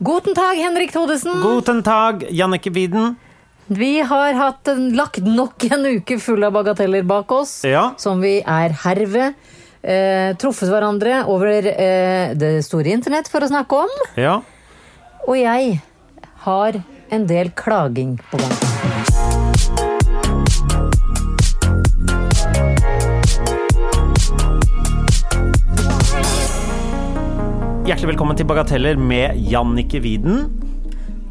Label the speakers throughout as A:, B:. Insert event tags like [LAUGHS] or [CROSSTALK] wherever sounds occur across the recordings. A: Guten tag, Henrik Thodesen.
B: Guten tag, Jannicke Wieden.
A: Vi har hatt en, lagt nok en uke full av bagateller bak oss,
B: Ja.
A: som vi er herved. Eh, truffet hverandre over eh, det store internett for å snakke om.
B: Ja.
A: Og jeg har en del klaging på gang.
B: Hjertelig velkommen til Bagateller med Jannicke Wieden.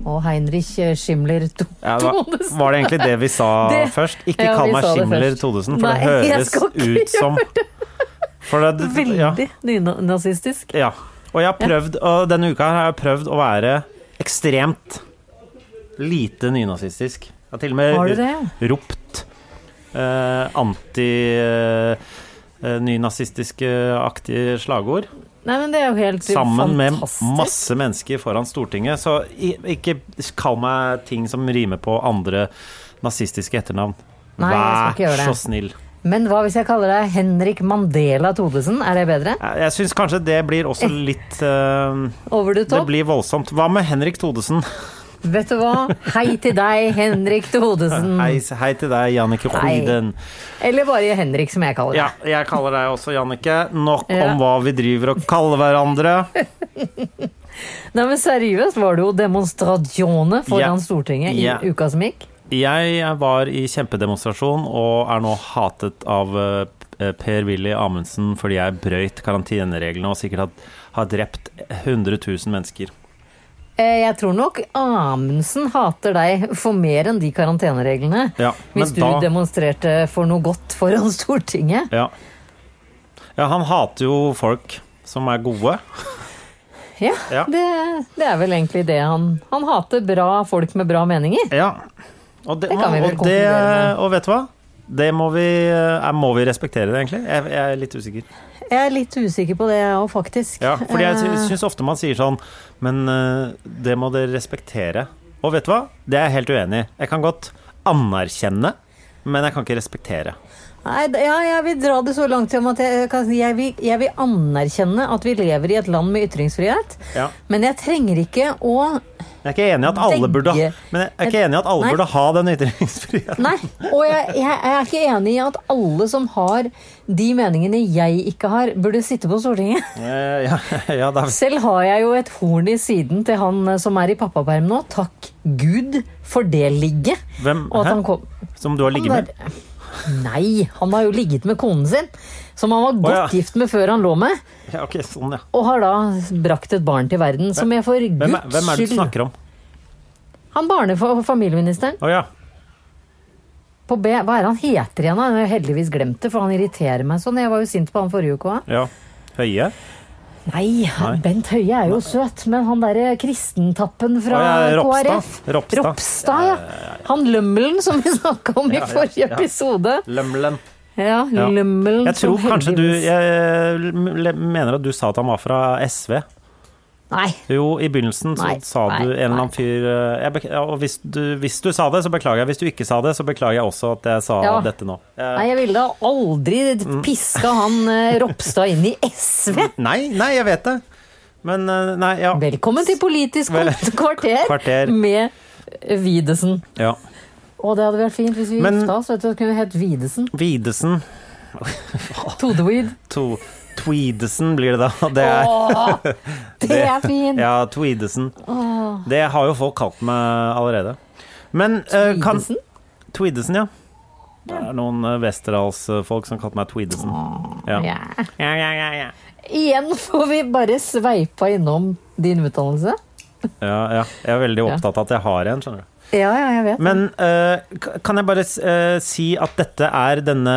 A: Og Heinrich Schimler to
B: Ja, det var,
A: Thodesen.
B: var det egentlig det vi sa
A: [LAUGHS] Det-
B: først? Ikke
A: Ja,
B: kall
A: vi
B: meg
A: sa det
B: Schimler
A: først.
B: Thodesen, for
A: Nei,
B: det
A: jeg
B: høres
A: skal ikke
B: ut som for det, ja,
A: Veldig nynazistisk.
B: ja. Og jeg har prøvd, og denne uka her har jeg prøvd å være ekstremt lite nynazistisk. Jeg har til og med
A: Har du det?
B: ropt eh, anti-nynazistiske-aktige slagord.
A: Nei, men det er jo helt
B: Sammen med
A: fantastisk.
B: masse mennesker foran Stortinget. Så i- ikke kall meg ting som rimer på andre nazistiske etternavn.
A: Nei, jeg skal ikke gjøre det.
B: Vær så snill.
A: Men hva hvis jeg kaller deg Henrik Mandela Thodesen? Er det bedre?
B: Jeg jeg syns kanskje det blir også litt eh,
A: Over the
B: Det
A: top?
B: blir voldsomt. Hva med Henrik Thodesen?
A: Vet du hva? Hei til deg, Henrik Thodesen.
B: Hei, hei til deg, Jannicke
A: Mm. Hei.
B: Hoiden.
A: Eller bare Henrik, som jeg kaller deg.
B: Ja, jeg kaller deg også Jannicke. Nok
A: Ja.
B: om hva vi driver og kaller hverandre.
A: Nei, men seriøst var det jo demonstrasjoner foran
B: Ja.
A: Stortinget i
B: Ja.
A: uka som gikk.
B: Jeg var i kjempedemonstrasjon og er nå hatet av eh, Per-Willy Amundsen fordi jeg brøyt karantenereglene og sikkert har, har drept 100 000 mennesker.
A: Eh, Jeg tror nok Amundsen hater deg for mer enn de karantenereglene.
B: Ja,
A: Hvis du
B: men da-
A: demonstrerte for noe godt foran Stortinget.
B: Ja. ja, han hater jo folk som er gode.
A: Ja,
B: Ja.
A: Det, det er vel egentlig det han Han hater bra folk med bra meninger.
B: Ja. Og det,
A: Det kan vi vel
B: og, det,
A: konkludere med.
B: og vet du hva? Det må vi, eh, må vi respektere det, egentlig. Jeg, jeg er litt usikker.
A: Jeg er litt usikker på det òg, faktisk.
B: Ja, fordi jeg
A: Eh,
B: sy- syns ofte man sier sånn Men eh, det må dere respektere. Og vet du hva? Det er jeg helt uenig i. Jeg kan godt anerkjenne, men jeg kan ikke respektere.
A: Nei, d- ja, jeg vil dra det så langt som at jeg, kan, si- jeg, vil, jeg vil anerkjenne at vi lever i et land med ytringsfrihet.
B: Ja.
A: Men jeg trenger ikke å
B: Jeg er ikke enig i at alle burde,
A: Begge-
B: men jeg er ikke enig i at alle
A: Nei.
B: burde ha den ytringsfriheten.
A: Nei. Og jeg, jeg er ikke enig i at alle som har de meningene jeg ikke har, burde sitte på Stortinget.
B: [LAUGHS] Eh, Ja, ja, da,
A: Selv har jeg jo et horn i siden til han eh, som er i pappaperm nå. Takk Gud for det ligget.
B: hvem
A: Og at
B: hæ?
A: han kom
B: Som du har ligget med?
A: Han er- Nei, han har jo ligget med konen sin, som han var
B: Å,
A: godt
B: ja.
A: gift med før han lå med.
B: Ja, ok, sånn, ja.
A: Og har da brakt et barn til verden, som jeg for
B: Hvem, er-
A: guds
B: hvem er det du
A: skyld
B: snakker om?
A: Han barne- og familieministeren
B: Å ja.
A: på B, hva er det han heter igjen? da? Jeg har heldigvis glemt det, for han irriterer meg sånn. Jeg var jo sint på han forrige uke òg.
B: ja. Høie?
A: Nei,
B: Nei.
A: Bent Høie er jo søt, men han derre kristentappen fra
B: Å, ja, Ropstad.
A: KrF
B: Ropstad.
A: ja. Han lømmelen som vi [LAUGHS] snakka om i
B: Ja, ja,
A: forrige
B: ja.
A: episode.
B: Lømlen.
A: Ja,
B: Ja.
A: lømmelen
B: Jeg tror
A: som
B: kanskje du
A: heldigvis-
B: Jeg le- mener at du sa at han var fra SV.
A: Nei.
B: Jo, i begynnelsen så
A: Nei,
B: sa
A: nei,
B: du en eller
A: nei.
B: annen fyr eh, jeg bek ja, Og hvis du, hvis du sa det, så beklager jeg. Hvis du ikke sa det, så beklager jeg også at jeg sa
A: Ja.
B: dette nå. Eh,
A: Nei, jeg ville da aldri
B: Mm.
A: piska han eh, Ropstad inn i SV.
B: nei, nei, jeg vet det. Men eh, nei, ja.
A: Velkommen til Politisk
B: Vel-
A: kvarter,
B: Kvarter.
A: med Videsen.
B: ja.
A: Å, det hadde vært fint hvis vi
B: Men-
A: gifta oss. Vet du, det kunne hett Videsen.
B: Videsen.
A: Todeweed.
B: To, tweedesen blir det da. [LAUGHS] Det er,
A: Å, det er fint!
B: [LAUGHS] Ja, tweedesen. Det har jo folk kalt meg allerede. Men eh, kan
A: Videsen?
B: Tweedesen, ja. Det er noen eh, Westerdals-folk som kalte meg Tweedesen. Ja.
A: Ja.
B: Ja, ja, ja, ja.
A: Igjen får vi bare sveipa innom din utdannelse.
B: Ja, ja. Jeg er veldig opptatt av at jeg har en, skjønner du.
A: Ja, ja, jeg vet.
B: Men eh, k- kan jeg bare s- eh, si at dette er denne,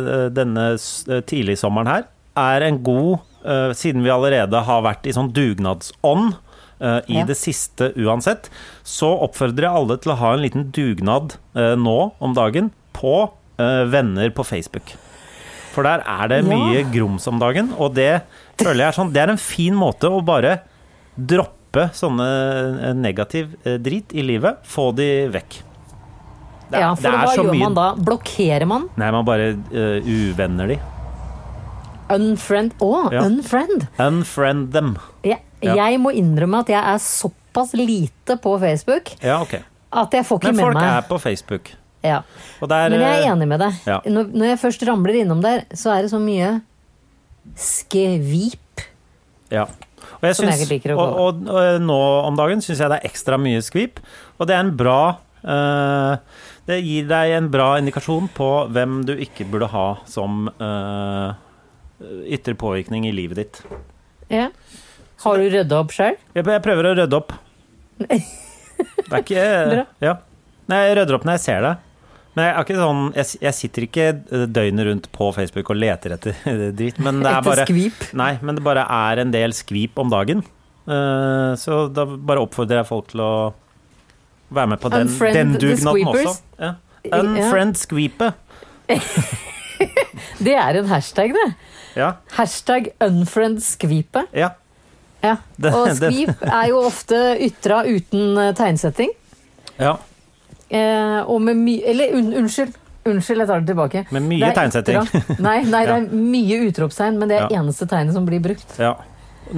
B: eh, denne s- eh, tidligsommeren her er en god eh, siden vi allerede har vært i sånn dugnadsånd eh, i
A: Ja.
B: det siste uansett, så oppfordrer jeg alle til å ha en liten dugnad eh, nå om dagen på eh, venner på Facebook. For der er det
A: Ja.
B: mye grums om dagen, og det føler jeg er sånn Det er en fin måte å bare droppe sånne eh, negativ eh, drit i livet. Få de vekk. Det er-
A: ja, for
B: det er
A: hva
B: så
A: gjør
B: mye-
A: man da? Blokkerer man?
B: Nei, man bare eh, uvenner de.
A: Unfriend. Å,
B: Ja.
A: unfriend!
B: Unfriend them.
A: Jeg,
B: Ja.
A: jeg må innrømme at jeg er såpass lite på Facebook
B: Ja, ok.
A: at jeg får ikke
B: Men
A: med
B: folk er
A: meg
B: på Facebook.
A: ja.
B: Og der,
A: Men jeg er
B: eh,
A: enig med deg.
B: ja.
A: Når, når jeg først ramler innom der, så er det så mye skvip.
B: Ja. Og, jeg
A: Som jeg
B: syns-
A: ikke liker å
B: og,
A: kalle
B: og, og nå om dagen syns jeg det er ekstra mye skvip, og det er en bra eh, Det gir deg en bra indikasjon på hvem du ikke burde ha som eh, ytre påvirkning i livet ditt.
A: Ja. Har du rydda opp sjøl?
B: Jeg, jeg prøver å rydde
A: [LAUGHS]
B: opp. Det er ikke
A: Bra.
B: Ja. Nei, jeg rydder opp når jeg ser det. Men jeg, er ikke sånn, jeg, jeg sitter ikke eh, døgnet rundt på Facebook og leter etter [LAUGHS] dritt. Men det er
A: Etter
B: bare
A: skvip?
B: Nei, men det bare er en del skvip om dagen. Eh, så da bare oppfordrer jeg folk til å være med på den,
A: Unfriend
B: den
A: the
B: dugnaden også.
A: squeepers.
B: Ja. Unfriend skvipet.
A: Det er en hashtag, det.
B: Ja.
A: Hashtag unfriend skvipet.
B: ja.
A: Ja.
B: Det-
A: Og
B: det-
A: skvip er jo ofte ytra uten eh, tegnsetting.
B: ja.
A: Eh, og med mye Eller un, unnskyld. Unnskyld, jeg tar det tilbake.
B: Med mye
A: Det er
B: tegnsetting.
A: ytra- Nei, nei,
B: [LAUGHS]
A: det er mye utropstegn, men det er
B: Ja.
A: eneste tegnet som blir brukt.
B: ja.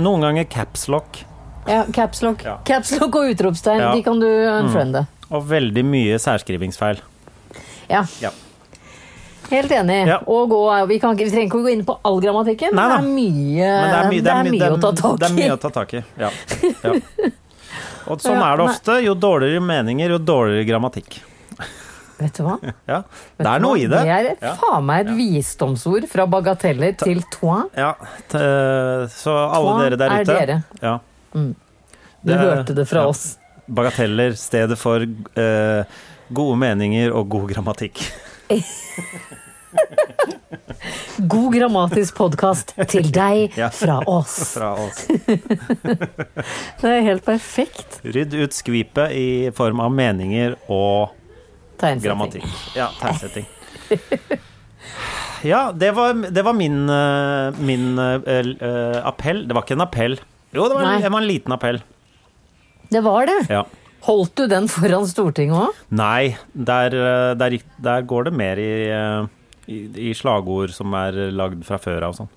B: Noen ganger capslock.
A: Ja, caps lock.
B: Ja.
A: Caps lock og utropstegn,
B: Ja. Mm.
A: de kan du unfriende.
B: Og veldig mye særskrivingsfeil.
A: Ja.
B: Ja.
A: Helt enig.
B: Ja.
A: Og gå, vi, kan ikke, vi trenger ikke å gå inn på all grammatikken,
B: Nei da.
A: men det er mye,
B: Men
A: det er
B: my-
A: mye å ta tak
B: Det er
A: i.
B: mye å ta tak i, ja. ja. Og sånn
A: Ja,
B: er det
A: nei.
B: ofte. Jo dårligere meninger, jo dårligere grammatikk.
A: [LAUGHS] Vet du hva?
B: Ja,
A: Vet
B: det
A: du
B: er noe
A: hva?
B: i det.
A: Det er
B: Ja.
A: faen meg et visdomsord fra bagateller til toi.
B: Ja, t så alle
A: Tva
B: dere der
A: er
B: ute
A: dere.
B: Ja.
A: Du
B: Det-
A: hørte det fra
B: ja.
A: oss.
B: Bagateller, stedet for eh, gode meninger og god grammatikk.
A: God grammatisk
B: [LAUGHS]
A: podkast til deg
B: Ja.
A: fra oss.
B: [LAUGHS] Fra oss.
A: [LAUGHS] Det er helt perfekt
B: Rydd ut skvipet i form av meninger og
A: tegnsetting.
B: grammatikk. Ja, tegnsetting. [LAUGHS] Ja, det var, det var min, eh, min eh, eh, appell. Det var ikke en appell. Jo, det var en,
A: Nei.
B: det var en liten appell.
A: Det var det.
B: Ja.
A: Holdt du den foran Stortinget òg?
B: Nei, der, eh, der, gikk- der går det mer i, eh, i, i slagord som er lagd fra før av og sånn.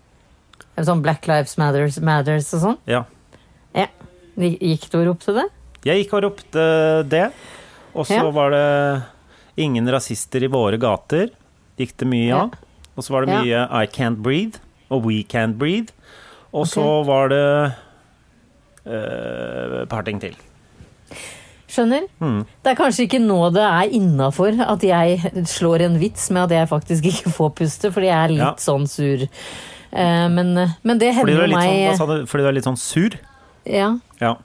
A: Sånn Black Lives Matters, Matters og sånn?
B: Ja.
A: Ja. Gikk du og ropte det?
B: Jeg gikk og ropte det, og så
A: Ja.
B: var det 'Ingen rasister i våre gater'. Gikk det mye av. Og så var det
A: Ja.
B: mye 'I Can't Breathe' og 'We Can't Breathe'. Og så
A: Ok.
B: var det eh, et par ting til.
A: Skjønner?
B: Mm.
A: Det er kanskje ikke nå det er innafor at jeg slår en vits med at jeg faktisk ikke får puste, fordi jeg er litt
B: Ja.
A: sånn sur. Eh, men, men det
B: Fordi
A: hender
B: du,
A: jo
B: er litt
A: meg eh?
B: sånn, hva sa du? Fordi du er litt sånn sur?
A: ja.
B: Ja.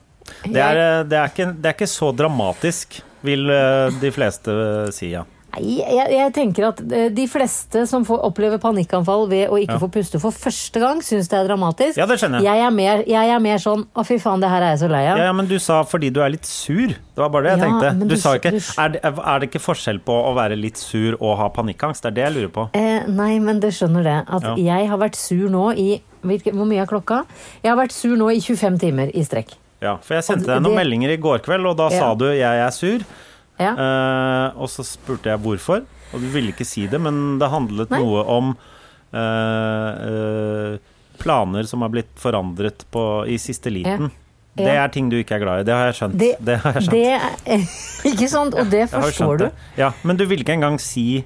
B: Det er, eh, det er, ikke, det er ikke så dramatisk, vil eh, de fleste eh, si, ja.
A: Nei, jeg, jeg tenker at eh, de fleste som får, opplever panikkanfall ved å ikke
B: Ja.
A: få puste for første gang, syns det er dramatisk.
B: Ja, det skjønner jeg.
A: Jeg er mer, jeg er mer sånn å, fy faen, det her er jeg så lei av.
B: Ja, ja, men du sa fordi du er litt sur. Det var bare det jeg
A: Ja,
B: tenkte.
A: men
B: Du,
A: du-
B: sa ikke
A: du-
B: er det, er det ikke forskjell på å være litt sur og ha panikkangst? Det er det jeg lurer på.
A: Eh, nei, men det skjønner det. At
B: Ja.
A: jeg har vært sur nå i hvilke, Hvor mye er klokka? Jeg har vært sur nå i 25 timer i strekk.
B: Ja, for jeg sendte
A: Og
B: deg noen
A: Altså, det-
B: meldinger i går kveld, og da
A: Ja.
B: sa du 'jeg er sur'.
A: Ja.
B: Eh, og så spurte jeg hvorfor, og du ville ikke si det, men det handlet
A: Nei.
B: noe om eh, eh, planer som har blitt forandret på, i siste liten.
A: Ja.
B: Det
A: Ja.
B: er ting du ikke er glad i. Det har jeg skjønt.
A: Det,
B: det har jeg skjønt.
A: det- [LAUGHS] ikke sant? Og det
B: Jeg har jo
A: forstår
B: skjønt
A: du.
B: det. Ja, men du ville ikke engang si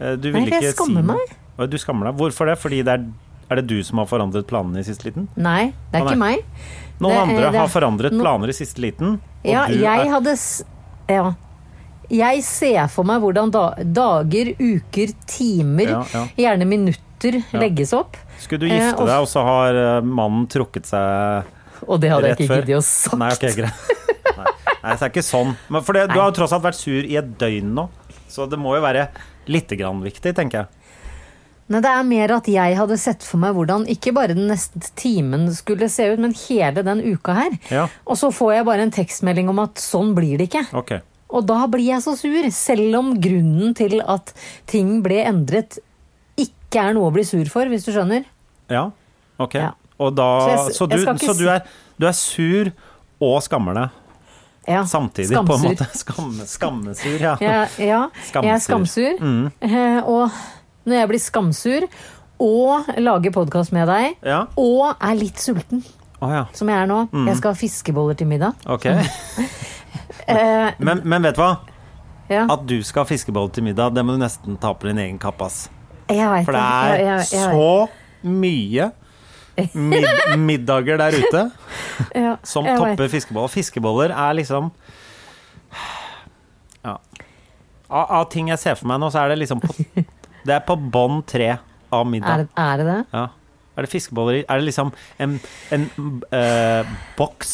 B: eh, du ville
A: for jeg
B: ikke
A: skammer
B: si noe.
A: meg.
B: Å, Du skammer deg. Hvorfor det? Fordi det er, er det du som har forandret planene i siste liten?
A: Nei, det er
B: Å,
A: ikke
B: nei.
A: meg.
B: Noen
A: Det er-
B: andre
A: det er-
B: har forandret
A: no-
B: planer i siste liten, og
A: Ja,
B: du
A: jeg
B: er
A: hadde s- Ja. Jeg ser for meg hvordan da, dager, uker, timer,
B: Ja, ja.
A: gjerne minutter,
B: Ja.
A: legges opp.
B: Skulle du
A: Eh,
B: gifte
A: og-
B: deg, og så har eh, mannen trukket seg
A: Og det hadde jeg
B: rett
A: ikke
B: før?
A: giddet å sagt.
B: Nei,
A: [LAUGHS]
B: ok, greit. Nei. Nei, det er ikke sånn. Men for det, du har jo tross alt vært sur i et døgn nå, så det må jo være lite grann viktig, tenker jeg.
A: Nei, det er mer at jeg hadde sett for meg hvordan ikke bare den neste timen skulle se ut, men hele den uka her.
B: Ja.
A: Og så får jeg bare en tekstmelding om at sånn blir det ikke.
B: Ok.
A: Og da blir jeg så sur, selv om grunnen til at ting ble endret ikke er noe å bli sur for, hvis du skjønner.
B: Ja. Ok.
A: Ja.
B: Og da
A: Så jeg
B: Så,
A: s-
B: du,
A: jeg skal ikke
B: så du,
A: s-
B: er, du er sur og skammer deg
A: Ja,
B: samtidig, på en måte. [LAUGHS] Skam, skammesur, ja.
A: Ja, ja jeg er
B: Skamsur.
A: skamsur.
B: Mm.
A: Eh, Og når jeg blir skamsur, og lager podkast med deg,
B: Ja. Mm.
A: og er litt sulten,
B: Å ja.
A: som jeg er nå Jeg skal ha fiskeboller til middag.
B: Ok.
A: Eh,
B: [LAUGHS] Men, men vet du hva?
A: ja.
B: At du skal ha fiskeboller til middag, det må du nesten ta på din egen kapp, ass.
A: Jeg veit
B: For det
A: Jeg-
B: er
A: jeg- jeg-
B: så mye mid middager der ute
A: [LAUGHS] ja,
B: som
A: jeg vet.
B: topper fiskeboller. Fiskeboller er liksom Ja. Av, av ting jeg ser for meg nå, så er det
A: [LAUGHS]
B: liksom på, Det er på bånn tre av
A: Er,
B: middag.
A: det- er det det?
B: Ja. Er det fiskeboller i Er det liksom en, en eh, boks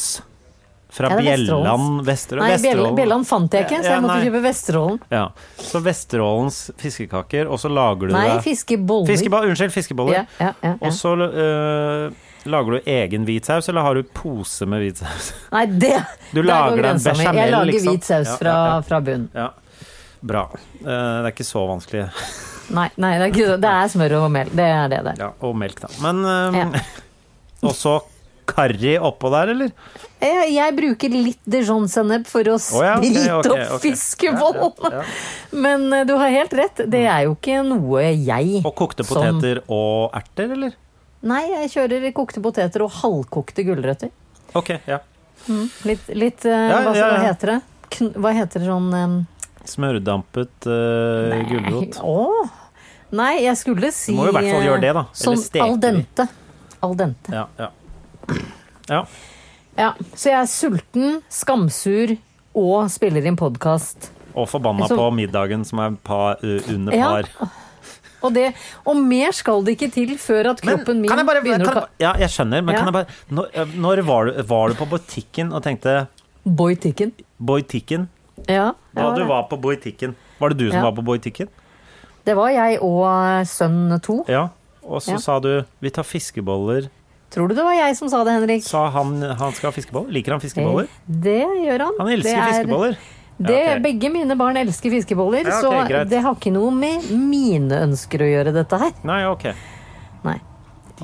B: fra
A: Er det
B: Bjelland Vesterålen?
A: Nei, Bjelland,
B: Vesterålen.
A: Bjelland fant jeg ikke, så
B: Ja,
A: jeg måtte
B: nei.
A: kjøpe Vesterålen.
B: Ja. Så Vesterålens fiskekaker, og så lager du
A: Nei,
B: det
A: fiskeboller.
B: Fiskeboller, Unnskyld, fiskeboller.
A: Ja, ja, ja, ja.
B: Og så øh, lager du egen hvit saus, eller har du pose med hvit saus? [LAUGHS]
A: Nei, det
B: Du
A: der går
B: lager deg en
A: grensa mi.
B: bechamel,
A: Jeg lager
B: liksom.
A: hvit saus
B: Ja,
A: fra,
B: ja, ja.
A: fra bunn.
B: Ja. Bra. Eh, det er ikke så vanskelig.
A: Nei, nei, det er ikke det. Det er smør og mel. Det er det der.
B: Ja, og melk, da. Men øh,
A: Ja.
B: [LAUGHS] Og så karri oppå der,
A: [LAUGHS]
B: eller?
A: Jeg, jeg bruker litt dijon-sennep for å
B: Å ja, ok,
A: sprite
B: ok,
A: opp
B: ok.
A: fiskebollene.
B: Ja, ja, ja.
A: Men eh, du har helt rett. Det er jo ikke noe jeg
B: Og kokte
A: som-
B: poteter og erter, eller?
A: Nei, jeg kjører kokte poteter og halvkokte gulrøtter.
B: Ok, ja.
A: Litt, litt eh,
B: Ja,
A: hva,
B: ja,
A: hva
B: ja.
A: heter det? Kn hva heter det sånn um,
B: Smørdampet øh, gulrot.
A: Åh. Nei, jeg skulle si
B: må jo i hvert fall
A: eh,
B: gjøre det, da. Eller
A: Sånn
B: steker
A: al
B: de.
A: dente. Al dente.
B: Ja, ja. ja.
A: Ja, så jeg er sulten, skamsur og spiller inn podkast.
B: Og forbanna
A: Så-
B: på middagen, som er pa, øh, under
A: Ja,
B: par.
A: Og, det- og mer skal det ikke til før at kroppen min
B: kan jeg bare,
A: begynner
B: kan
A: å
B: jeg,
A: ka-
B: ba- Ja, jeg skjønner, men
A: Ja.
B: kan jeg bare Når, eh, når var, du, var du på butikken og tenkte
A: Boy Ticken.
B: Boitikken?
A: Ja, det
B: Ja,
A: var
B: du
A: det.
B: var på boitikken. Var det du som
A: Ja.
B: var på boitikken?
A: det var jeg og eh, sønn to.
B: Ja. Og så
A: Ja.
B: sa du 'vi tar fiskeboller'.
A: Tror du det var jeg som sa det, Henrik? Eh,
B: Sa han han skal ha fiskeboller? Liker han fiskeboller?
A: Det gjør han.
B: Han elsker
A: Det er-
B: fiskeboller.
A: Det,
B: Ja, ok.
A: Begge mine barn elsker fiskeboller,
B: Ja, ok,
A: så
B: greit.
A: det har ikke noe med mine ønsker å gjøre, dette her.
B: Nei, ok.
A: Nei.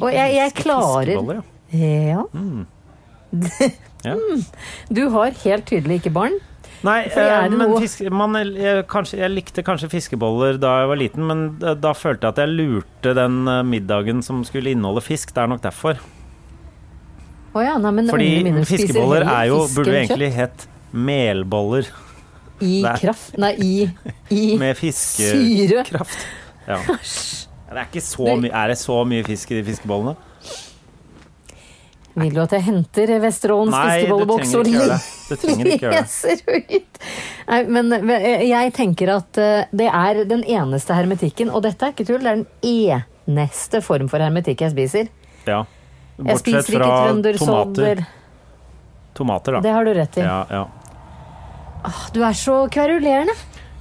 A: Og jeg, jeg
B: Elsker
A: klarer
B: fiskeboller, ja.
A: Ja. [LAUGHS] Mm.
B: Ja.
A: Du har helt tydelig ikke barn.
B: Nei,
A: For jeg er
B: eh,
A: det
B: men
A: noe-
B: fisk, man, eh, jeg, kanskje, jeg likte kanskje fiskeboller da jeg var liten, men da, da følte jeg at jeg lurte den eh, middagen som skulle inneholde fisk. Det er nok derfor.
A: Å ja, nei, men ungene
B: Fordi
A: mine spiser
B: fiskeboller
A: heller
B: er jo,
A: fisk
B: burde jo
A: enn
B: egentlig hett melboller
A: kjøtt. I
B: Nei.
A: kraft Nei, i, i
B: [LAUGHS] med fiskekraft.
A: syre.
B: Ja. Det er ikke så mye Er det så mye fisk i de fiskebollene?
A: Vil du at jeg henter Vesterålens
B: Nei, du
A: fiskebolleboks og
B: trenger ikke gjøre det. Du trenger ikke gjøre det.
A: [LAUGHS] leser ut? Nei, men men jeg tenker at eh, det er den eneste hermetikken, og dette er ikke tull, det er den eneste form for hermetikk jeg spiser.
B: Ja.
A: Jeg
B: Bortsett
A: spiser
B: fra
A: ikke trøndersolder.
B: tomater. Tomater,
A: Det
B: da.
A: har du rett i.
B: Ja, ja.
A: Du er så kverulerende.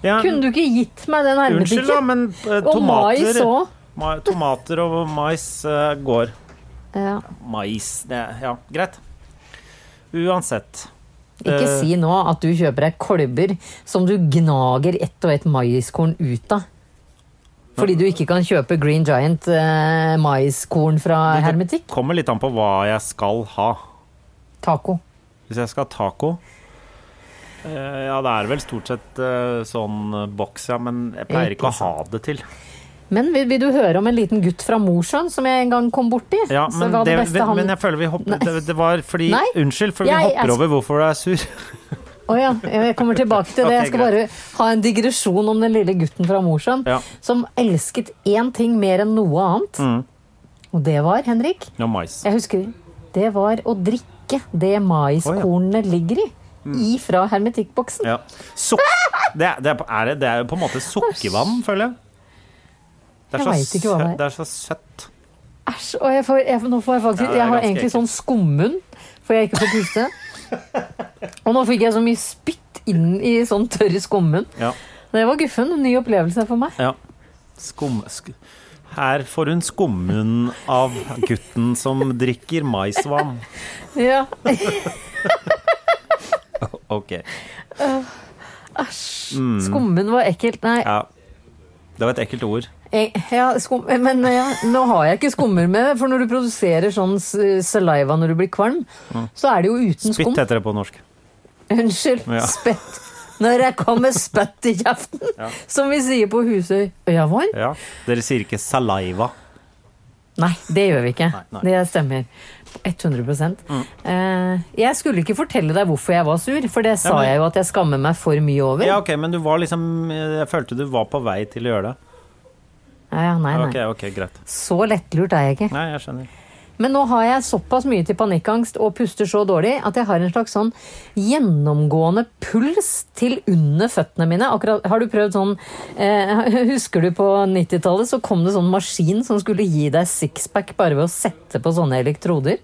B: ja
A: Kunne du ikke gitt meg den
B: unnskyld, da,
A: hermetikken?
B: men eh,
A: Og mais
B: tomater
A: òg.
B: ma- Tomater og mais eh, går.
A: Ja.
B: Mais det, Ja, greit. Uansett.
A: Ikke
B: Eh,
A: si nå at du kjøper deg kolber som du gnager ett og ett maiskorn ut av. Fordi du ikke kan kjøpe Green Giant eh, maiskorn fra Hermetikk.
B: Kommer litt an på hva jeg skal ha.
A: Taco.
B: Hvis jeg skal ha taco eh, Ja, det er vel stort sett eh, sånn eh, boks, ja, men jeg pleier ikke å ha det til.
A: Men vil, vil du høre om en liten gutt fra Mosjøen som jeg en gang kom borti?
B: Ja,
A: Så
B: men,
A: var
B: det,
A: det beste han...
B: men jeg føler vi hopper det, det var fordi
A: Nei.
B: Unnskyld, for vi
A: Jeg- jeg-
B: hopper over hvorfor du er sur. [LAUGHS]
A: Å ja, jeg kommer tilbake til det.
B: Ok,
A: Jeg skal bare ha en digresjon om den lille gutten fra Mosjøen
B: Ja.
A: som elsket én ting mer enn noe annet.
B: Mm.
A: Og det var, Henrik,
B: No mais.
A: Jeg husker det var å drikke det maiskornene ligger i. Ifra hermetikkboksen.
B: Mm. Ja. Suk det, er- det, er, på- er det, det er jo på en måte sukkervann, føler jeg. Det er,
A: Jeg
B: så
A: vet ikke hva det
B: sø-
A: er.
B: det er så søtt.
A: Æsj! Og jeg får, jeg, nå får jeg
B: Ja,
A: faktisk
B: det er
A: Jeg har
B: ganske
A: egentlig
B: ekkelt.
A: sånn skummunn, for jeg ikke får puste.
B: [LAUGHS]
A: Og nå fikk jeg så mye spytt inn i sånn tørr skummunn.
B: Ja.
A: Det var guffen. En ny opplevelse for meg.
B: ja. Skum... Sk Her får hun skummen av gutten som drikker maisvann.
A: Ja. [LAUGHS]
B: Ok.
A: Æsj. Skummen var ekkelt. Nei,
B: Mm. Ja. Det var et ekkelt ord.
A: jeg, ja, skum, men ja, nå har jeg ikke skummer med, for når du produserer sånn s- saliva når du blir kvalm, så er det jo uten skum.
B: Mm. Spytt heter det på norsk.
A: Unnskyld.
B: Ja.
A: Spett. Når jeg kommer spett i kjeften, som vi sier på Husøy. Ja vel?
B: Ja. Dere sier ikke saliva.
A: Nei, det gjør vi ikke.
B: Nei, Mm. nei.
A: Det stemmer. 100 Eh, Jeg skulle ikke fortelle deg hvorfor jeg var sur, for det sa
B: Ja, men-
A: jeg jo at jeg skammer meg for mye over.
B: Ja,
A: Ja,
B: ok, men du var liksom Jeg følte du var på vei til å gjøre det.
A: ja, nei, nei.
B: Ok, ok, greit.
A: Så lettlurt er jeg ikke.
B: Nei, jeg skjønner.
A: Men nå har jeg såpass mye til panikkangst og puster så dårlig at jeg har en slags sånn gjennomgående puls til under føttene mine. Akkurat, har du prøvd sånn eh, [LAUGHS] Husker du på 90-tallet så kom det sånn maskin som skulle gi deg sixpack bare ved å sette på sånne elektroder?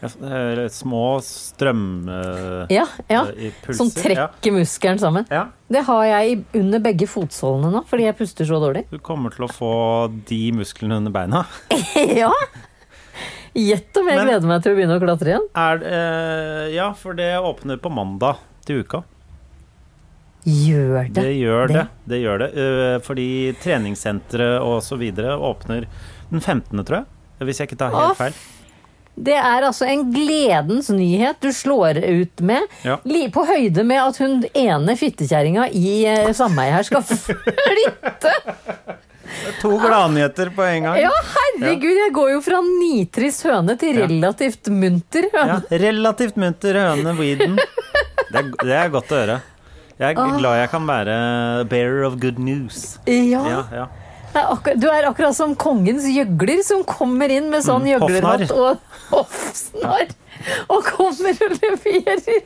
B: Ja, s- eh, Små strøm... eh,
A: Ja, ja. Sånn
B: I pulser,
A: Som trekker muskelen sammen.
B: Ja.
A: Det har jeg i- under begge fotsålene nå, fordi jeg puster så dårlig. [LAUGHS]
B: Du kommer til å få de musklene under beina.
A: ja! Gjett om jeg
B: Men-
A: gleder meg til å begynne å klatre igjen.
B: Er, eh, ja, for det åpner på mandag til uka.
A: Gjør det.
B: Det gjør det.
A: det.
B: det, gjør det. Eh, fordi treningssenteret og så videre åpner den 15., tror jeg. Hvis jeg ikke tar
A: Å,
B: helt feil.
A: Det er altså en gledens nyhet du slår ut med.
B: Ja.
A: Li- På høyde med at hun ene fittekjerringa i eh, sameiet her skal [LAUGHS] flytte!
B: To gladnyheter på en gang.
A: Ja, herregud! Jeg går jo fra nitrist høne til
B: Ja.
A: relativt munter høne.
B: Ja, relativt munter høne Weeden. Det er, det er godt å høre. Jeg er glad jeg kan være bearer of good news.
A: Ja.
B: Ja, ja.
A: Det er akkur- du er akkurat som kongens gjøgler som kommer inn med sånn
B: Mm,
A: gjøglerhatt og hoffsnarr. Og kommer og leverer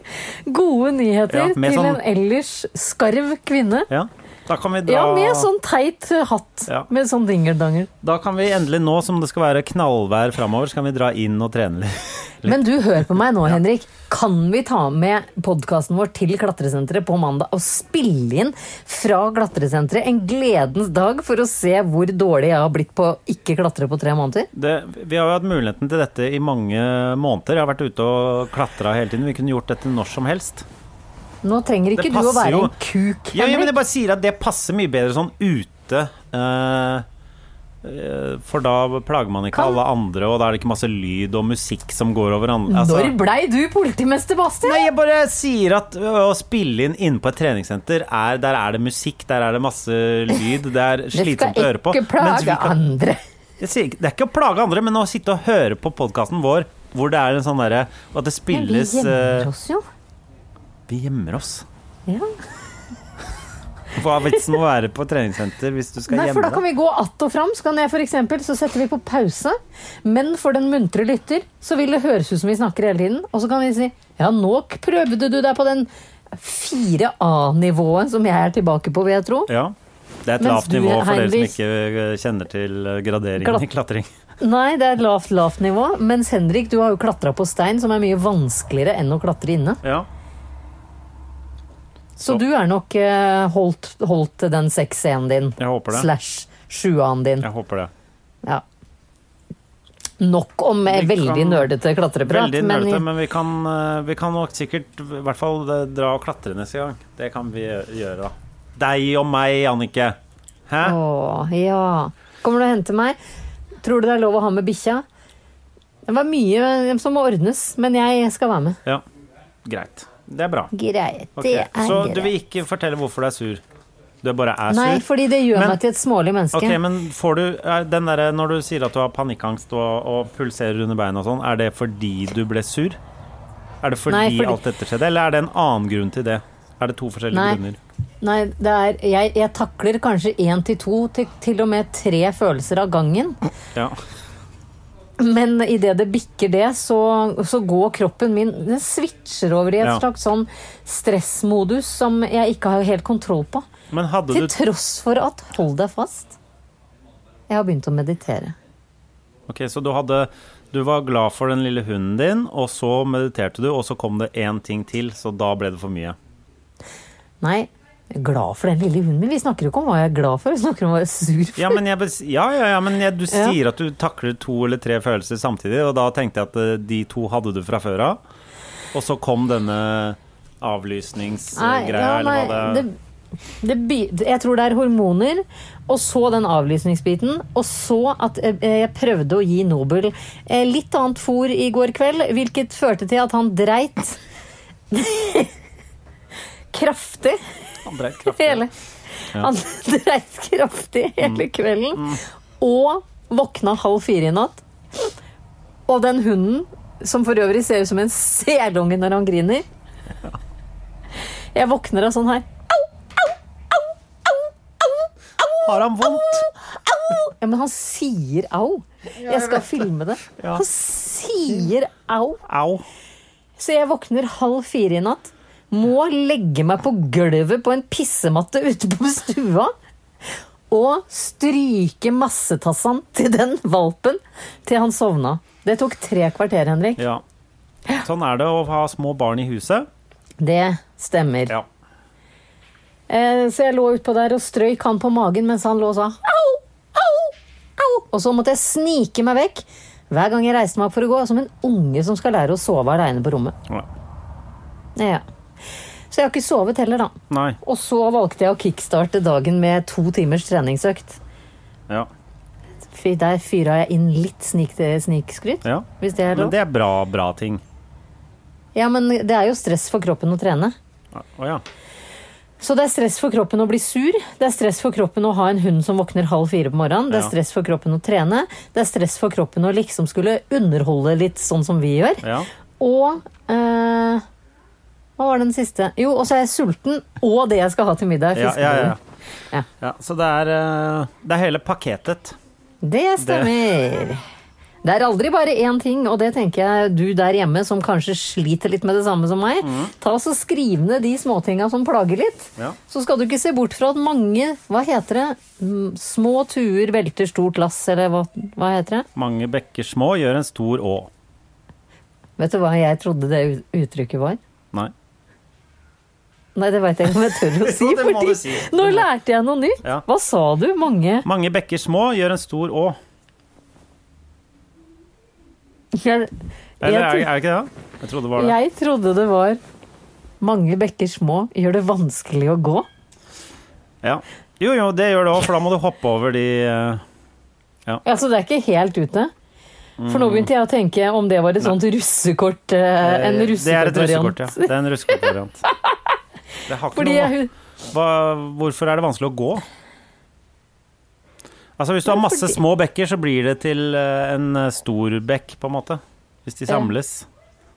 A: gode nyheter
B: Ja, med
A: til
B: sånn-
A: en ellers skarv kvinne.
B: ja. Da kan vi dra
A: Ja, med sånn teit eh, hatt.
B: Ja.
A: Med sånn dingeldangel.
B: Da kan vi endelig nå som det skal være knallvær framover, så kan vi dra inn og trene litt.
A: Men du, hør på meg nå, Henrik. Kan vi ta med podkasten vår til klatresenteret på mandag og spille inn fra klatresenteret en gledens dag for å se hvor dårlig jeg har blitt på å ikke klatre på tre måneder?
B: Det, vi har jo hatt muligheten til dette i mange måneder. Jeg har vært ute og klatra hele tiden. Vi kunne gjort dette når som helst.
A: Nå trenger ikke du å
B: passer
A: være
B: jo.
A: en kuk, Henrik.
B: Ja, ja, men jeg bare sier at det passer mye bedre sånn ute. eh, eh, for da plager man ikke
A: Kan-
B: alle andre, og da er det ikke masse lyd og musikk som går over andre.
A: Når blei du politimester, Basti?
B: altså- Nei, jeg bare sier at ø, å spille inn inne på et treningssenter, er, der er det musikk, der er det masse lyd, det er
A: [LAUGHS] Det
B: slitsomt
A: skal
B: å høre på.
A: ikke
B: Mens vi
A: plage
B: kan-
A: andre.
B: jeg sier ikke, det er ikke å plage andre, men å sitte og høre på podkasten vår hvor det er en sånn derre og At det
A: Men vi
B: spilles eh,
A: gjemmer
B: ø,
A: oss jo.
B: Vi gjemmer oss.
A: Ja.
B: Hva er vitsen med å være på et treningssenter hvis du skal
A: Nei, for da
B: gjemme
A: kan
B: deg?
A: vi gå att og fram. Så kan jeg for eksempel, så setter vi på pause. Men for den muntre lytter så vil det høres ut som vi snakker hele tiden. Og så kan vi si ja, nå k- prøvde du deg på den 4A-nivået som jeg er tilbake på, vil jeg tro.
B: Ja. Det er et
A: Mens
B: lavt
A: du,
B: nivå for dere som
A: Heinrich-
B: ikke ø, kjenner til ø, graderingen i klatring.
A: Nei, det er et lavt, lavt nivå. Mens Henrik, du har jo klatra på stein, som er mye vanskeligere enn å klatre inne.
B: Ja.
A: Så
B: Så-
A: du er nok eh, holdt, holdt til den 6C-en din.
B: Jeg håper det.
A: Slash 7A-en din.
B: Jeg håper det.
A: Ja. Nok om eh,
B: Vi kan-
A: veldig nerdete klatreprat.
B: sånn Veldig
A: men-
B: nerdete, men vi kan, eh, vi kan nok sikkert i hvert fall eh, dra og klatre neste gang. Det kan vi gjø- gjøre, da. Deg og meg, Annike. Hæ?
A: Åh, ja. Kommer du og henter meg? Tror du det er lov å ha med bikkja? Det var mye som må ordnes, men jeg skal være med.
B: Ja. Greit. Det er bra.
A: Greit.
B: Ok,
A: Det er
B: Så
A: greit.
B: du vil ikke fortelle hvorfor du er sur? Du bare er sur?
A: Nei, fordi det gjør
B: Men-
A: meg til et smålig menneske.
B: Ok, men får du er den derre Når du sier at du har panikkangst og, og pulserer under beina og sånn, er det fordi du ble sur? Er det fordi,
A: Nei, fordi-
B: alt dette skjedde, eller er det en annen grunn til det? Er det to forskjellige
A: Nei.
B: grunner?
A: Nei, det er, jeg, jeg takler kanskje én til to, til, til og med tre følelser av gangen.
B: Ja.
A: Men idet det bikker det, så, så går kroppen min Den switcher over i et
B: Ja.
A: slags sånn stressmodus som jeg ikke har helt kontroll på.
B: Men hadde
A: Til
B: du
A: tross for at Hold deg fast. Jeg har begynt å meditere.
B: Ok, så du hadde Du var glad for den lille hunden din, og så mediterte du, og så kom det én ting til, så da ble det for mye.
A: Nei, Jeg er glad for den lille hunden min. Vi snakker jo ikke om hva jeg er glad for, vi snakker om hva jeg er sur for.
B: Ja, men, jeg, bes- ja, ja, ja, men jeg, du
A: Ja.
B: sier at du takler to eller tre følelser samtidig, og da tenkte jeg at eh, de to hadde du fra før av. Og så kom
A: Nei,
B: denne avlysningsgreia,
A: ja,
B: eller hva
A: nei,
B: det,
A: det- det by- Jeg tror det er hormoner, og så den avlysningsbiten. Og så at eh, jeg prøvde å gi Nobel eh, litt annet fôr i går kveld, hvilket førte til at han dreit [LAUGHS] kraftig
B: Han dreit kraftig.
A: hele Han [LAUGHS] dreit kraftig
B: Mm.
A: hele kvelden. Og våkna halv fire i natt. Og den hunden, som for øvrig ser ut som en selunge når han griner Jeg våkner av sånn her.
B: Har han vondt?
A: Ja, men han sier au. Jeg skal filme det.
B: Ja.
A: Han sier au.
B: Au.
A: Så jeg våkner halv fire i natt, må legge meg på gulvet på en pissematte ute på stua. Og stryke massetassene til den valpen til han sovna. Det tok tre kvarter, Henrik.
B: Ja. Sånn er det å ha små barn i huset.
A: Det stemmer.
B: Ja.
A: Eh, så jeg lå utpå der og strøyk han på magen mens han lå og sa au, au, au. Og så måtte jeg snike meg vekk hver gang jeg reiste meg opp for å gå, som en unge som skal lære å sove aleine på rommet. Ja. Så jeg har ikke sovet heller, da.
B: Nei.
A: Og så valgte jeg å kickstarte dagen med to timers treningsøkt.
B: Ja.
A: Fy- Der fyra jeg inn litt snik snikskryt.
B: ja.
A: Hvis det er
B: Men
A: lov.
B: det er bra, bra ting.
A: Ja, men det er jo stress for kroppen å trene.
B: Å ja.
A: Så det er stress for kroppen å bli sur, det er stress for kroppen å ha en hund som våkner halv fire på morgenen, det er
B: Ja.
A: stress for kroppen å trene, det er stress for kroppen å liksom skulle underholde litt sånn som vi gjør.
B: Ja.
A: Og eh, Hva var den siste? Jo, og så er jeg sulten, og det jeg skal ha til middag. er
B: Ja, ja, ja.
A: Ja.
B: Ja, så det er, eh, det er hele pakketet.
A: Det stemmer. Det er aldri bare én ting, og det tenker jeg du der hjemme som kanskje sliter litt med det samme som meg. Ta oss og Skriv ned de småtinga som plager litt.
B: Mm. Ja.
A: Så skal du ikke se bort fra at mange Hva heter det? Mm, Små tuer velter stort lass, eller hva, hva heter det?
B: Mange bekker små gjør en stor å.
A: Vet du hva jeg trodde det ut- uttrykket var?
B: Nei.
A: Nei, det veit jeg ikke om jeg tør
B: [LAUGHS]
A: å si.
B: det må
A: fordi
B: du si.
A: Nå lærte jeg noe nytt.
B: Ja.
A: Hva sa du? Mange
B: Mange bekker små gjør en stor å.
A: Jeg,
B: Eller
A: jeg
B: er,
A: trodde-
B: er det ikke det? da? Jeg trodde det var det.
A: Jeg trodde det var mange bekker små gjør det vanskelig å gå.
B: Ja. Jo, jo, det gjør det òg, for da må du hoppe over de eh,
A: Altså, det er ikke helt ute. For nå begynte jeg å tenke om det var et sånt russekort, eh, en
B: Det er et russekort,
A: russekortvariant.
B: ja. Det er en russekortvariant. Det
A: [LAUGHS]
B: har ikke
A: Fordi
B: noe
A: jeg,
B: Hva, Hvorfor er det vanskelig å gå? Altså, hvis du har masse små bekker, så blir det til eh, en eh, stor bekk, på en måte. Hvis de
A: Ja.
B: samles.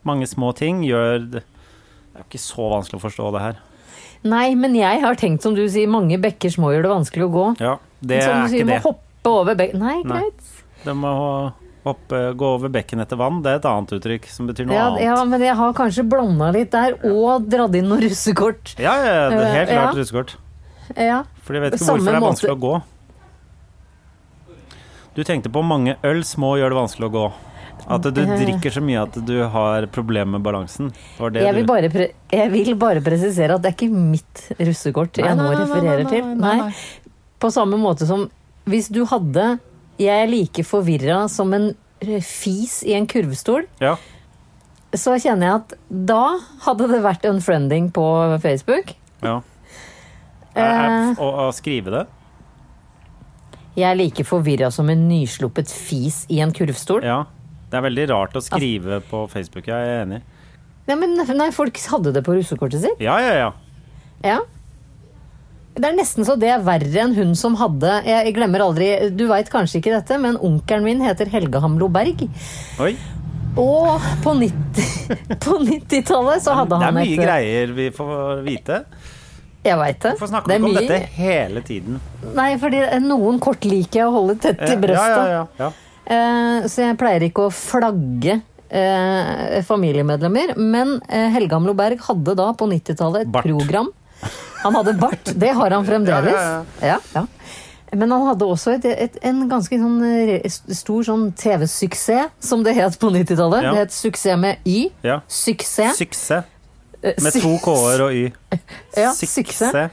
B: Mange små ting gjør det Det er jo ikke så vanskelig å forstå det her.
A: nei, men jeg har tenkt som du sier, mange bekker små gjør det vanskelig å gå.
B: Ja, det
A: som
B: er
A: du sier,
B: ikke
A: må
B: det.
A: hoppe over bek... Nei,
B: Nei.
A: greit.
B: Det må hoppe, gå over bekken etter vann. Det er et annet uttrykk som betyr noe
A: Ja,
B: annet.
A: ja, men jeg har kanskje blanda litt der, og dratt inn noen russekort.
B: Ja, ja, ja, det er helt
A: Eh,
B: klart
A: ja.
B: russekort.
A: Ja.
B: For jeg vet ikke
A: Samme
B: hvorfor det er
A: måte-
B: vanskelig å gå. Du tenkte på mange øl små gjør det vanskelig å gå. At du drikker så mye at du har problemer med balansen. Det var det
A: Jeg vil,
B: du
A: bare pre jeg vil bare presisere at det er ikke mitt russekort jeg nå refererer til. På samme måte som hvis du hadde Jeg er like forvirra som en eh, fis i en kurvstol.
B: Ja,
A: Så kjenner jeg at da hadde det vært unfriending på Facebook.
B: ja.
A: Eh.
B: Er, er, å, å skrive det?
A: Jeg er like forvirra som en nysluppet fis i en kurvstol.
B: Ja. Det er veldig rart å skrive på Facebook, jeg er enig.
A: Nei, men nei, folk hadde det på russekortet sitt.
B: Ja, ja, ja.
A: Ja. Det er nesten så det er verre enn hun som hadde Jeg glemmer aldri, du veit kanskje ikke dette, men onkelen min heter Helge Hamlo Berg.
B: Oi.
A: Og på 90 [LAUGHS] på 90-tallet så hadde
B: Det er
A: han
B: mye
A: et eh,
B: greier vi får vite.
A: Jeg veit det.
B: Hvorfor snakker
A: Det
B: vi
A: er
B: ikke om
A: mye-
B: dette hele tiden?
A: Nei, fordi noen kort liker jeg å holde tett til brøstet.
B: Eh, Ja, ja, ja, ja.
A: Eh, Så jeg pleier ikke å flagge eh, familiemedlemmer. Men eh, Helge Hamlo Berg hadde da på 90-tallet et
B: Bart.
A: program. Han hadde bart, det har han fremdeles.
B: Ja,
A: Ja, ja. Men han hadde også et, et, en ganske sånn eh, re- stor sånn TV-suksess, som det het på 90-tallet.
B: Ja.
A: Det het Suksess med Y.
B: ja.
A: Suksess.
B: Suksess.
A: Eh,
B: Med
A: sy-
B: to k-er og y.
A: [LAUGHS] Ja,
B: Suksess.
A: suksess.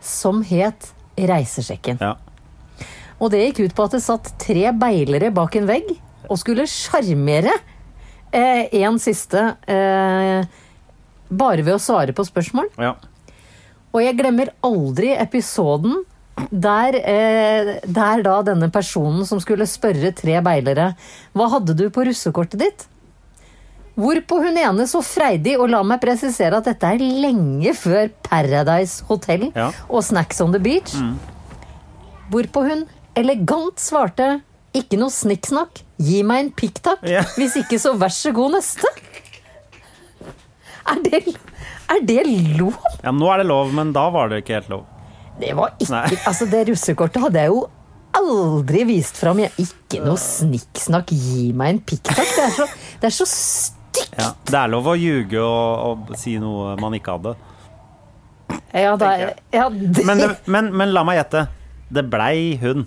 A: som het Reisesjekken.
B: Ja.
A: Og det gikk ut på at det satt tre beilere bak en vegg og skulle sjarmere eh, en siste eh, bare ved å svare på spørsmål.
B: ja.
A: Og jeg glemmer aldri episoden der, eh, der da denne personen som skulle spørre tre beilere Hva hadde du på russekortet ditt? Hvorpå hun ene så freidig, og la meg presisere at dette er lenge før Paradise Hotel
B: Ja. Mm.
A: og Snacks on the Beach. Hvorpå hun elegant svarte ikke noe snikksnakk, gi meg en pikktakk.
B: Ja. [LAUGHS]
A: Hvis ikke, så vær så god neste. Er det, er det lov?
B: ja, nå er det lov, men da var det ikke helt lov.
A: Det var ikke
B: Nei. [LAUGHS]
A: Altså, det russekortet hadde jeg jo aldri vist fram. Jeg, ikke noe snikksnakk, gi meg en pikktakk. Det er så, det er så stygt.
B: Ja. Det er lov å ljuge og, og si noe man ikke hadde.
A: Ja, det er, ja, det,
B: Men, det, men, men la meg gjette. Det blei hun.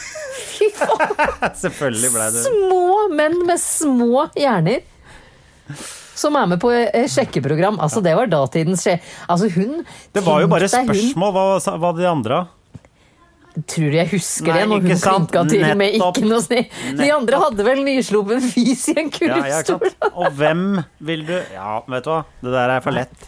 A: Fy faen!
B: Selvfølgelig blei det hun.
A: Små menn med små hjerner. Som er med på eh, sjekkeprogram. Altså, det var datidens skje... Altså, hun
B: Det var jo
A: tenk
B: bare
A: deg hun-
B: spørsmål. Hva sa- hva de andre?
A: Tror du jeg husker
B: Nei,
A: det, når
B: ikke
A: hun
B: sant.
A: klinka til med
B: Nettopp.
A: ikke noe snill. De andre hadde vel nysluppen fis i en
B: Ja, ja, ikke
A: kurvstol.
B: sant? Og hvem vil du Ja, vet du hva, det der er for lett.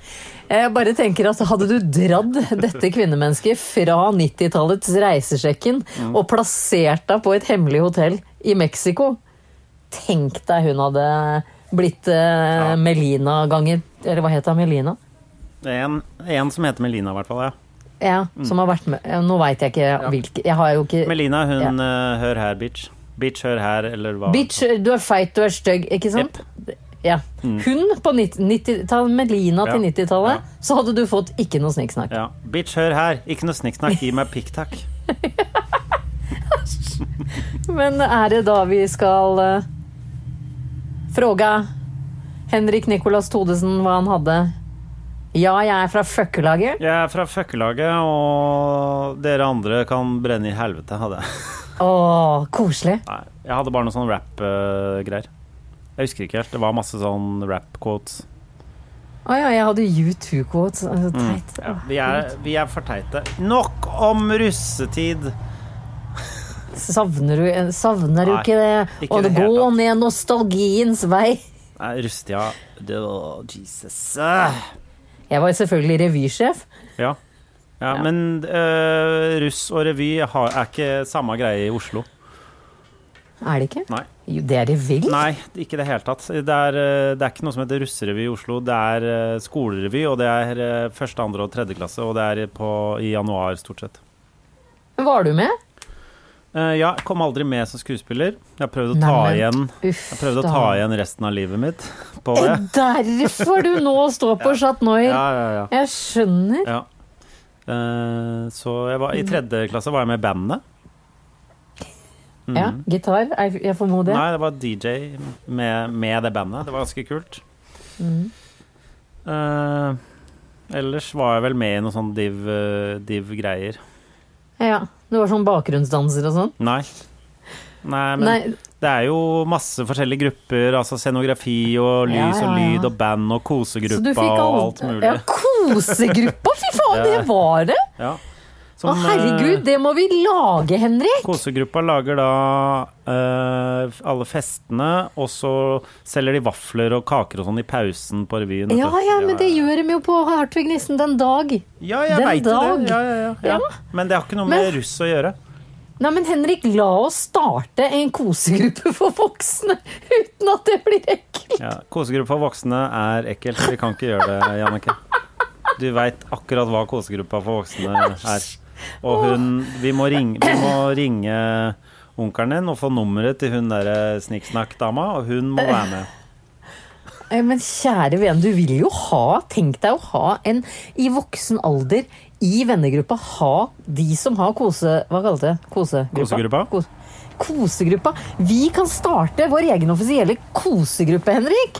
A: Jeg bare tenker at Hadde du dratt dette kvinnemennesket fra 90-tallets reisesjekken
B: Mm.
A: og plassert deg på et hemmelig hotell i Mexico Tenk deg hun hadde blitt eh,
B: Ja.
A: Melina ganger Eller hva het hun? Melina?
B: Det er En, en som heter Melina, i hvert fall. Ja.
A: Ja, som har vært med ja, Nå veit jeg ikke hvilke Jeg har jo ikke
B: Mm. Melina, hun eh, Hør her, bitch. Bitch, hør her, eller hva?
A: Bitch, du er feit, du er stygg, ikke sant? Ja. Hun på 90-tallet, Melina til
B: Mm. Ja.
A: 90-tallet,
B: Ja.
A: så hadde du fått ikke noe snikksnakk.
B: Ja. Bitch, hør her. Ikke noe snikksnakk, gi meg pikktakk.
A: Men er det da vi skal uh, fråga Henrik Nicolas Todesen hva han hadde? Ja, jeg er fra føkkelaget.
B: [LAUGHS] Jeg er fra føkkelaget, og dere andre kan brenne i helvete, hadde jeg.
A: Å, koselig.
B: Nei, jeg hadde bare noen sånne rap-greier. Jeg husker ikke helt. Det var masse sånn rap-quotes.
A: Å ja, jeg hadde U2-quotes. Altså, teit.
B: Mm. Ja, Ah, vi, er, vi er for teite. Nok om russetid!
A: Savner du, savner du
B: Nei,
A: ikke det?
B: ikke
A: Å
B: i det hele
A: gå
B: tatt.
A: ned nostalgiens vei.
B: Nei, Rustia det var- Jesus. Ah.
A: Jeg var selvfølgelig revysjef.
B: Ja. Ja, men øh, russ og revy har, er ikke samme greie i Oslo.
A: Er det ikke?
B: Nei.
A: Jo, det er det vel?
B: Nei, ikke i det hele tatt. Det er, øh, det er ikke noe som heter russerevy i Oslo. Det er øh, skolerevy, og det er øh, første, andre og tredje klasse, og det er på, i januar, stort sett.
A: Var du med?
B: Eh, ja, kom aldri med som skuespiller. Jeg prøvde å ta
A: Nei, men,
B: igjen
A: uff
B: Jeg prøvde å
A: da. Eh,
B: ta igjen resten av livet mitt på det.
A: Derfor du nå står på Chat Noir.
B: Ja, ja, ja.
A: Jeg skjønner.
B: ja. Eh, så jeg var, i tredje klasse var jeg med i bandet. Mm.
A: Ja, gitar, jeg, jeg formoder.
B: Nei, det var DJ med, med det bandet. Det var ganske kult.
A: Mm.
B: Eh, ellers var jeg vel med i noen sånn div, eh, div-greier.
A: Ja, Du var sånn bakgrunnsdanser og sånn?
B: Nei. Nei, men
A: Nei,
B: det er jo masse forskjellige grupper. Altså scenografi og lys
A: Ja, ja,
B: og
A: ja.
B: lyd og band og kosegruppa
A: så du fikk
B: og
A: alt
B: alt mulig.
A: Ja, Sånn, kosegruppa! Fy faen,
B: Ja.
A: det var det!
B: Ja. Som,
A: Å, herregud,
B: eh,
A: det må vi lage, Henrik!
B: Kosegruppa lager da eh, alle festene, og så selger de vafler og kaker og sånn i pausen på revyen. vet
A: Ja,
B: du.
A: ja, men det gjør de jo på Hartvig Nissen den dag.
B: Ja, jeg
A: Den
B: vet
A: dag.
B: det. Ja, ja, ja, ja.
A: Ja.
B: Men det har ikke noe
A: Men-
B: med russ å gjøre.
A: Nei, men Henrik, la oss starte en kosegruppe for voksne uten at det blir ekkelt.
B: Ja. Kosegruppe for voksne er ekkelt. Vi kan ikke gjøre det, Jannicke. Du veit akkurat hva kosegruppa for voksne er. Og hun Vi må ringe, vi må ringe onkelen din og få nummeret til hun derre snikksnakk-dama, og hun må være med.
A: Eh, Men kjære venn, du vil jo ha Tenk deg å ha en i voksen alder i vennegruppa ha de som har kose... Hva kalles det? Kosegruppa.
B: Kosegruppa?
A: Kos- kosegruppa. Vi kan starte vår egen offisielle kosegruppe, Henrik.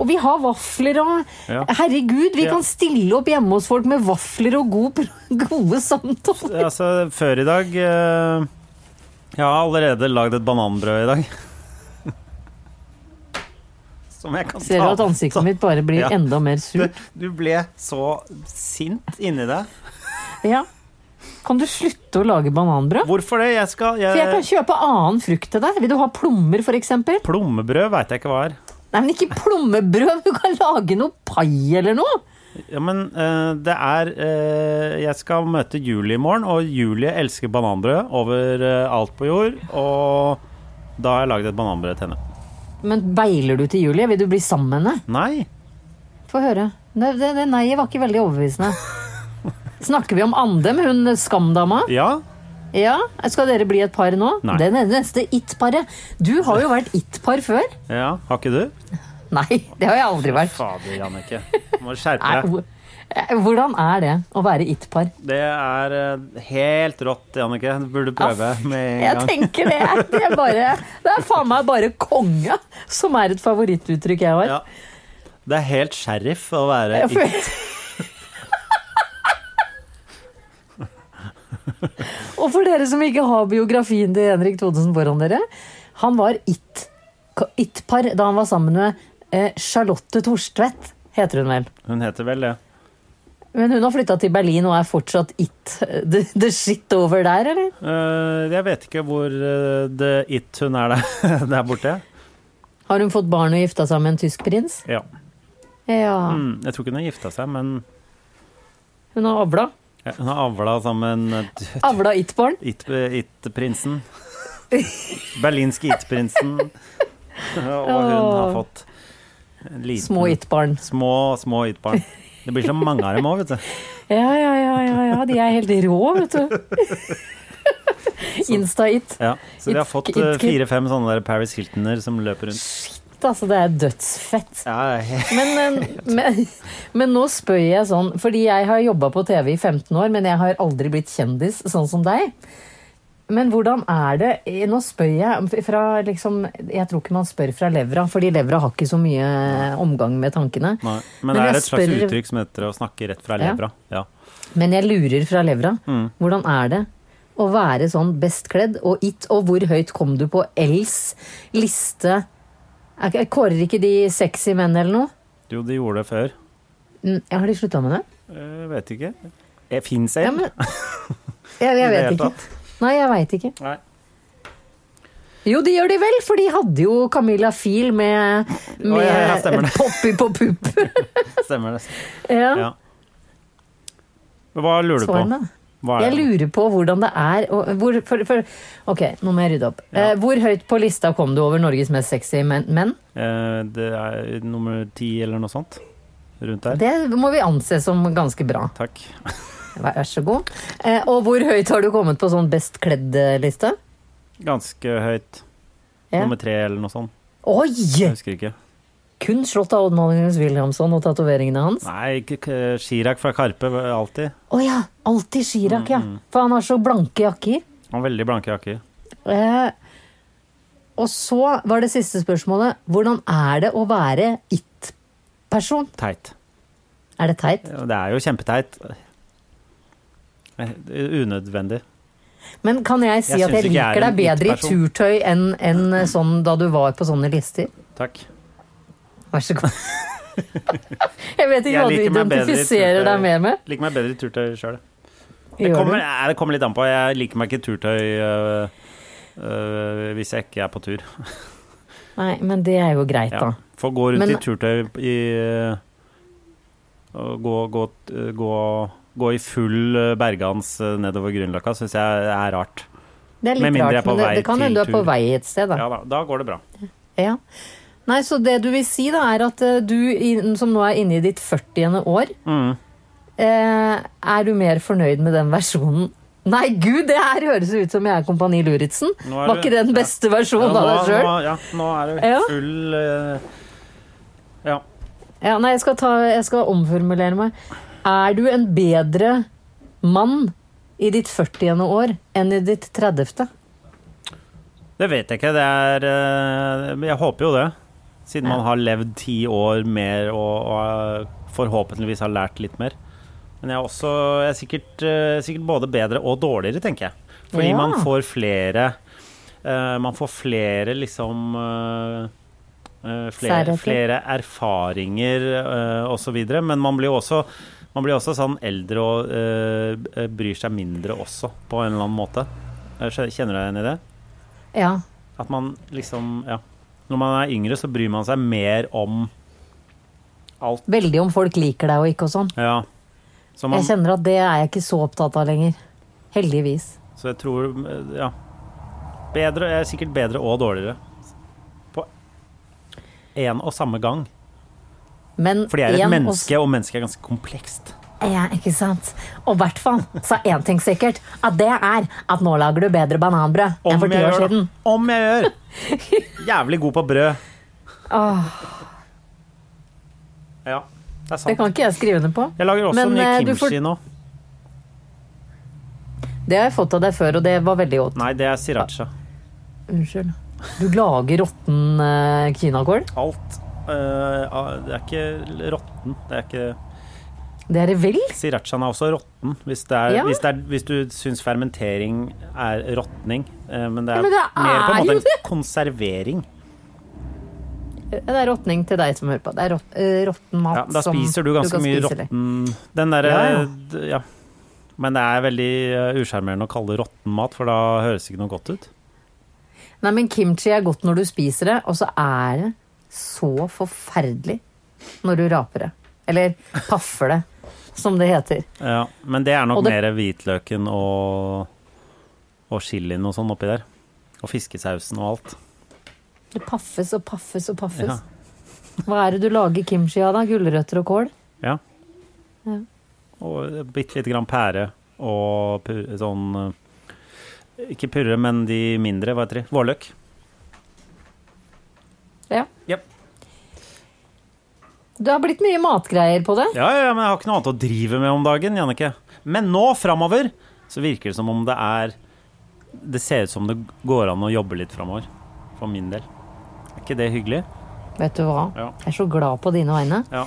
A: Og vi har vafler og
B: Ja.
A: Herregud, vi
B: Ja.
A: kan stille opp hjemme hos folk med vafler og god, [LAUGHS] gode samtaler.
B: Altså, før i dag eh, Jeg har allerede lagd et bananbrød i dag. [LAUGHS] Som jeg kan ta
A: Ser du at ansiktet
B: Så-
A: mitt bare blir
B: Ja.
A: enda mer surt?
B: du, du ble så sint inni deg.
A: Ja. Kan du slutte å lage bananbrød?
B: Hvorfor det? Jeg skal
A: For jeg kan
B: jeg,
A: kjøpe annen frukt til deg. Vil du ha plommer, for eksempel?
B: Plommebrød veit jeg ikke hva er.
A: Nei, men ikke plommebrød! Du kan lage noe pai eller noe!
B: Ja, men eh, det er eh, Jeg skal møte Julie i morgen, og Julie elsker bananbrød over eh, alt på jord. Og da har jeg lagd et bananbrød til henne.
A: Men beiler du til Julie? Vil du bli sammen med henne?
B: Nei.
A: Få høre. Det, det, det nei-et var ikke veldig overbevisende. Snakker vi om Andem, hun skamdama?
B: Ja.
A: Ja? Skal dere bli et par nå?
B: Nei.
A: Det er det neste it-paret. Du har jo vært it-par før.
B: ja. Har ikke du?
A: Nei, det har jeg aldri vært.
B: Fader, Jannicke. Må skjerpe
A: Nei,
B: deg.
A: hvor- eh, hvordan er det å være it-par?
B: Det er eh, helt rått, Jannicke. Du burde prøve med
A: Jeg
B: en gang.
A: tenker det. er- Det er, bare, det er faen meg bare konge som er et favorittuttrykk jeg har.
B: Ja. Det er helt sheriff å være
A: Jeg
B: i [LAUGHS]
A: føler- Og for dere som ikke har biografien til Henrik Thodesen foran dere, han var it- it-par da han var sammen med eh, Charlotte Torstvedt, heter hun vel.
B: Hun heter vel det.
A: Men hun har flytta til Berlin og er fortsatt it. The, the shit over der, eller?
B: Eh, jeg vet ikke hvor eh, the it hun er der, [LAUGHS] der borte.
A: Har hun fått barn og gifta seg med en tysk prins?
B: Ja.
A: Ja.
B: Mm, jeg tror ikke hun har gifta seg, men
A: Hun har avla.
B: ja, hun har avla sammen eh, t-
A: Avla it-barn.
B: it- it-prinsen. Berlinske it-prinsen. Og hun har fått en liten,
A: Små it-barn.
B: Små, små it-barn. Det blir så mange av dem òg, vet du.
A: Ja, ja, ja, ja, ja. De er helt rå, vet [LAUGHS] du. Insta-it.
B: Ja, så de har
A: It-
B: fått eh,
A: it-
B: fire-fem sånne der Paris Hiltoner som løper rundt.
A: Altså, det er dødsfett.
B: Ja, he-
A: Men, men, men, men nå spør jeg sånn, fordi jeg har jobba på TV i 15 år, men jeg har aldri blitt kjendis sånn som deg. Men hvordan er det Eh, Nå spør jeg fra liksom Jeg tror ikke man spør fra levra, fordi levra har ikke så mye omgang med tankene.
B: Nei. Men det
A: jeg
B: er et slags
A: spør-
B: uttrykk som heter å snakke rett fra
A: Ja.
B: levra. Ja.
A: Men jeg lurer fra levra.
B: Mm.
A: Hvordan er det å være sånn best kledd og it, og hvor høyt kom du på Els liste? Er ikke- Kårer ikke de sexy menn eller noe?
B: Jo, de gjorde det før.
A: Mm, Har de slutta med det?
B: Eh, vet ikke. Fins
A: Ja,
B: en?
A: men Jeg, jeg
B: [LAUGHS] I
A: vet
B: det hele
A: ikke. Nei, jeg veit ikke.
B: Nei.
A: Jo, de gjør de vel, for de hadde jo Camilla Fiel med, med
B: Å, ja, ja, stemmer det.
A: [LAUGHS] Poppy på pupp.
B: [LAUGHS] Stemmer det.
A: ja,
B: Ja. Men Hva lurer du på?
A: svar meg.
B: Hva
A: Jeg
B: er det?
A: lurer på hvordan det er og hvor, for, for, Ok, nå må jeg rydde opp. Eh, hvor høyt på lista kom du over Norges mest sexy men- menn?
B: Eh, det er nummer ti eller noe sånt? Rundt der?
A: Det må vi anse som ganske bra.
B: Takk.
A: Vær så god. Eh, og hvor høyt har du kommet på sånn best kledd-liste?
B: Ganske høyt.
A: Ja.
B: Nummer tre eller noe sånt.
A: Oi!
B: Jeg husker ikke.
A: Kun slått av Odd Magnus Wilhelmsson og tatoveringene hans.
B: Nei, k- k- Chirag fra Karpe var alltid.
A: Å ja! Alltid Chirag,
B: Mm.
A: ja. For han har så blanke jakker.
B: Han har veldig blanke jakker.
A: Eh, og så var det siste spørsmålet. Hvordan er det å være it-person?
B: Teit.
A: Er det teit?
B: Ja, Det er jo kjempeteit. Eh, Unødvendig.
A: Men kan jeg si
B: Jeg
A: at jeg
B: synes ikke jeg
A: liker
B: er
A: deg
B: en
A: bedre i
B: it-person.
A: turtøy enn enn sånn da du var på sånne lister?
B: Takk.
A: Vær så god. Jeg vet ikke
B: Jeg
A: hva du
B: liker meg bedre i
A: identifiserer
B: turtøy.
A: deg mer med.
B: Liker meg bedre i turtøy sjøl. Det
A: Gjør
B: kommer,
A: du?
B: nei, det kommer litt an på. Jeg liker meg ikke turtøy øh, øh, hvis jeg ikke er på tur.
A: Nei, men det er jo greit,
B: Ja.
A: da.
B: Få gå rundt
A: Men-
B: i turtøy i øh, og gå, gå, øh, gå, gå i full øh, bergans øh, nedover Grünerløkka syns jeg er rart.
A: Det er litt
B: Med mindre jeg er
A: rart,
B: på
A: men det,
B: vei
A: det kan
B: til
A: hende du er på
B: tur.
A: vei et sted, da.
B: Ja da, da går det bra.
A: Ja. Nei, så det du vil si da, er at eh, du i- som nå er inne i ditt 40. år,
B: Mm.
A: eh, er du mer fornøyd med den versjonen? Nei, gud, det her høres ut som jeg er Kompani Luritzen.
B: Nå er
A: Var
B: du-
A: ikke det den
B: ja.
A: beste
B: Ja,
A: versjonen
B: nå,
A: av deg sjøl?
B: nå, ja, nå er det
A: Ja.
B: full øh, Ja.
A: Ja, nei, jeg skal, ta, jeg skal omformulere meg. Er du en bedre mann i ditt 40. år enn i ditt 30.?
B: Det vet jeg ikke. Det er eh, men Jeg håper jo det. Siden man har levd ti år mer og, og eh, forhåpentligvis har lært litt mer. Men jeg er også jeg er sikkert, eh, sikkert både bedre og dårligere, tenker jeg. Fordi
A: Ja.
B: man får flere eh, Man får flere liksom eh, eh, flere,
A: Særheter.
B: flere erfaringer eh, og så videre. Men man blir jo også, man blir også sånn eldre og eh, bryr seg mindre også, på en eller annen måte. Eh, Kjenner du deg igjen i det?
A: Ja.
B: At man liksom Ja. Når man er yngre, så bryr man seg mer om alt.
A: Veldig om folk liker deg og ikke og sånn.
B: Ja. Så, man,
A: Jeg kjenner at det er jeg ikke så opptatt av lenger. Heldigvis.
B: så jeg tror eh, Ja. Bedre Jeg er sikkert bedre og dårligere. På én og samme gang.
A: Men
B: Fordi jeg er
A: en
B: et
A: og-
B: menneske, og mennesket er ganske komplekst.
A: Ja, ikke sant. Og i hvert fall så er én ting sikkert, at det er at nå lager du bedre bananbrød enn for ti år
B: gjør det.
A: siden.
B: Om jeg gjør! Jævlig god på brød. Ja, det er
A: Det
B: sant.
A: kan ikke jeg skrive under på.
B: Jeg lager også
A: Men,
B: ny
A: eh, du får-
B: kimchi nå.
A: Det har jeg fått av deg før, og det var veldig godt.
B: Nei, det er sriracha.
A: Unnskyld. Du lager råtten uh, kinakål?
B: Alt. eh, ah, det er ikke råtten. Det er ikke
A: Det er det vel?
B: Srirachaen er også råtten, hvis, det er,
A: Ja.
B: hvis, det er, hvis du syns fermentering er råtning. eh, Men det er,
A: Ja, men det er
B: mer på en
A: jo
B: måte
A: det.
B: en konservering.
A: Det er råtning til deg som hører på. Det er rått- eh, råtten mat
B: Ja, da
A: som
B: spiser du ganske
A: kan
B: mye
A: spise, eller?
B: råtten Den derre
A: Ja, ja.
B: d- ja. Men det er veldig eh, usjarmerende å kalle det råtten mat, for da høres det ikke noe godt ut.
A: Nei, men kimchi er godt når du spiser det, og så er det så forferdelig når du raper det. Eller paffer det, som det heter.
B: Ja, men det er nok
A: Og det-
B: mer hvitløken og, og chilien og sånn oppi der. Og fiskesausen og alt.
A: Det paffes og paffes og paffes.
B: Ja.
A: Hva er det du lager kimchi av, da? Gulrøtter og kål?
B: Ja. Og bitte lite grann pære og pur, sånn eh, Ikke purre, men de mindre, hva heter de? Vårløk.
A: Ja.
B: Yep.
A: Det har blitt mye matgreier på det.
B: Ja, ja, ja, men jeg har ikke noe annet å drive med om dagen, Jannicke. Men nå framover så virker det som om det er Det ser ut som det går an å jobbe litt framover. For min del. Er ikke det hyggelig?
A: Vet du hva?
B: Ja.
A: Jeg er så glad på dine vegne.
B: Ja.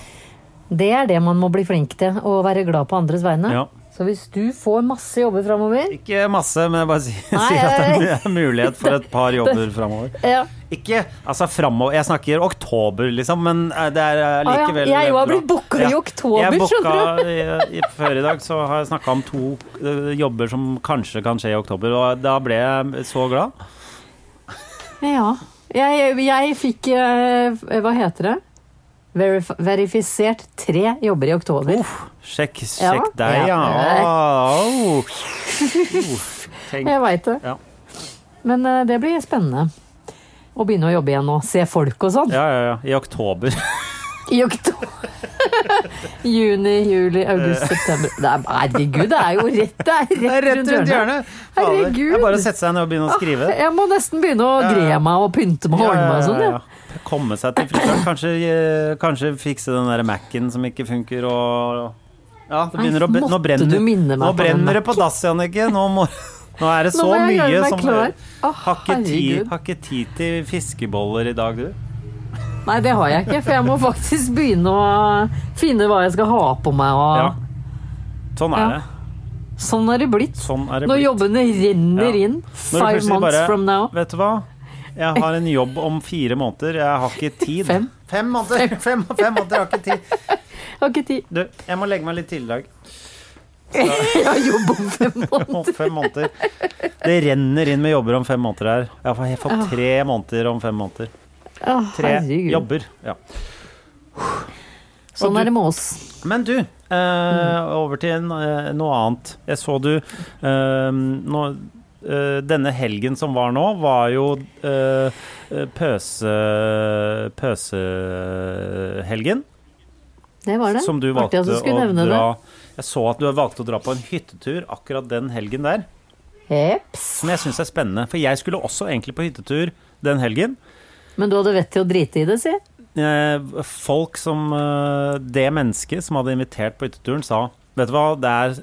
A: Det er det man må bli flink til, å være glad på andres vegne.
B: Ja.
A: Så hvis du får masse jobber framover
B: Ikke masse, men jeg bare sier,
A: Nei,
B: [LAUGHS] sier at det er mulighet for et par jobber framover.
A: ja.
B: Ikke altså framover Jeg snakker oktober, liksom, men eh, det er eh,
A: ja,
B: likevel
A: jeg jo har
B: bra.
A: blitt booka i oktober,
B: jeg booka
A: skjønner
B: i- i- Før i dag så har jeg snakka om to eh, jobber som kanskje kan skje i oktober, og da ble jeg så glad.
A: Ja. Jeg, jeg fikk eh, Hva heter det? Verif verifisert tre jobber i oktober.
B: Sjekk,
A: Ja,
B: sjekk deg, ja.
A: ja.
B: Au.
A: [LAUGHS]
B: Uff, tenk.
A: Jeg veit det.
B: Ja.
A: Men eh, det blir spennende. Å begynne å jobbe igjen og se folk og sånn.
B: Ja, ja, ja. I oktober.
A: I oktober. [LAUGHS] Juni, juli,
B: Eh.
A: august, september. Det er, herregud, det er jo rett, det er rett, rundt hjørnet.
B: Fader, Det er
A: Herregud.
B: bare å sette seg ned og begynne å skrive.
A: Jeg må nesten begynne å
B: ja.
A: gre meg og pynte meg og ordne meg og sånn. Ja.
B: Komme seg til frisøren. Kanskje, eh, kanskje fikse den der Mac-en som ikke funker, og Ja, det
A: Nei,
B: begynner å be- Nå
A: måtte
B: brenner,
A: du minne meg
B: nå
A: på den
B: brenner det på dass, Jannicke. Nå, må, nå er det
A: Nå
B: så
A: må jeg gjøre
B: mye
A: meg
B: som
A: klar. Å,
B: Har ikke tid-
A: herregud.
B: har ikke tid til fiskeboller i dag, du.
A: Nei, det har jeg ikke, for jeg må faktisk begynne å finne hva jeg skal ha på meg. Og...
B: Ja. Sånn
A: Ja.
B: er det.
A: Sånn er det blitt.
B: Sånn er det
A: Når
B: blitt.
A: jobbene renner
B: Ja.
A: inn.
B: Når du
A: Five
B: plutselig
A: months
B: bare,
A: from now.
B: Vet du hva? Jeg har en jobb om fire måneder. Jeg har ikke tid.
A: Fem.
B: Fem måneder! Fem, fem måneder, jeg har ikke tid.
A: Jeg har ikke tid. [LAUGHS]
B: Du, jeg må legge meg litt tidlig i dag.
A: Jeg har jobb om fem
B: [LAUGHS] Om
A: måneder.
B: fem måneder. Det renner inn med jobber om fem måneder her. Jeg har fått- jeg har fått tre måneder om fem måneder.
A: Å,
B: Tre
A: herregud.
B: jobber. Ja.
A: Sånn er det med oss.
B: Men du,
A: Mm.
B: eh, over til en, eh, noe annet. Jeg så du eh, nå, eh, Denne helgen som var nå, var jo eh, pøse... Pøsehelgen.
A: Det var det.
B: Som du valgte
A: Artig at du
B: å
A: skulle nevne
B: dra Jeg så at du valgte å dra på en hyttetur akkurat den helgen der.
A: det. Jeps.
B: Som jeg syns er spennende. For jeg skulle også egentlig på hyttetur den helgen.
A: Men du hadde vett til å drite i det, si.
B: Eh, folk som eh, Det mennesket som hadde invitert på hytteturen, sa Vet du hva, det er,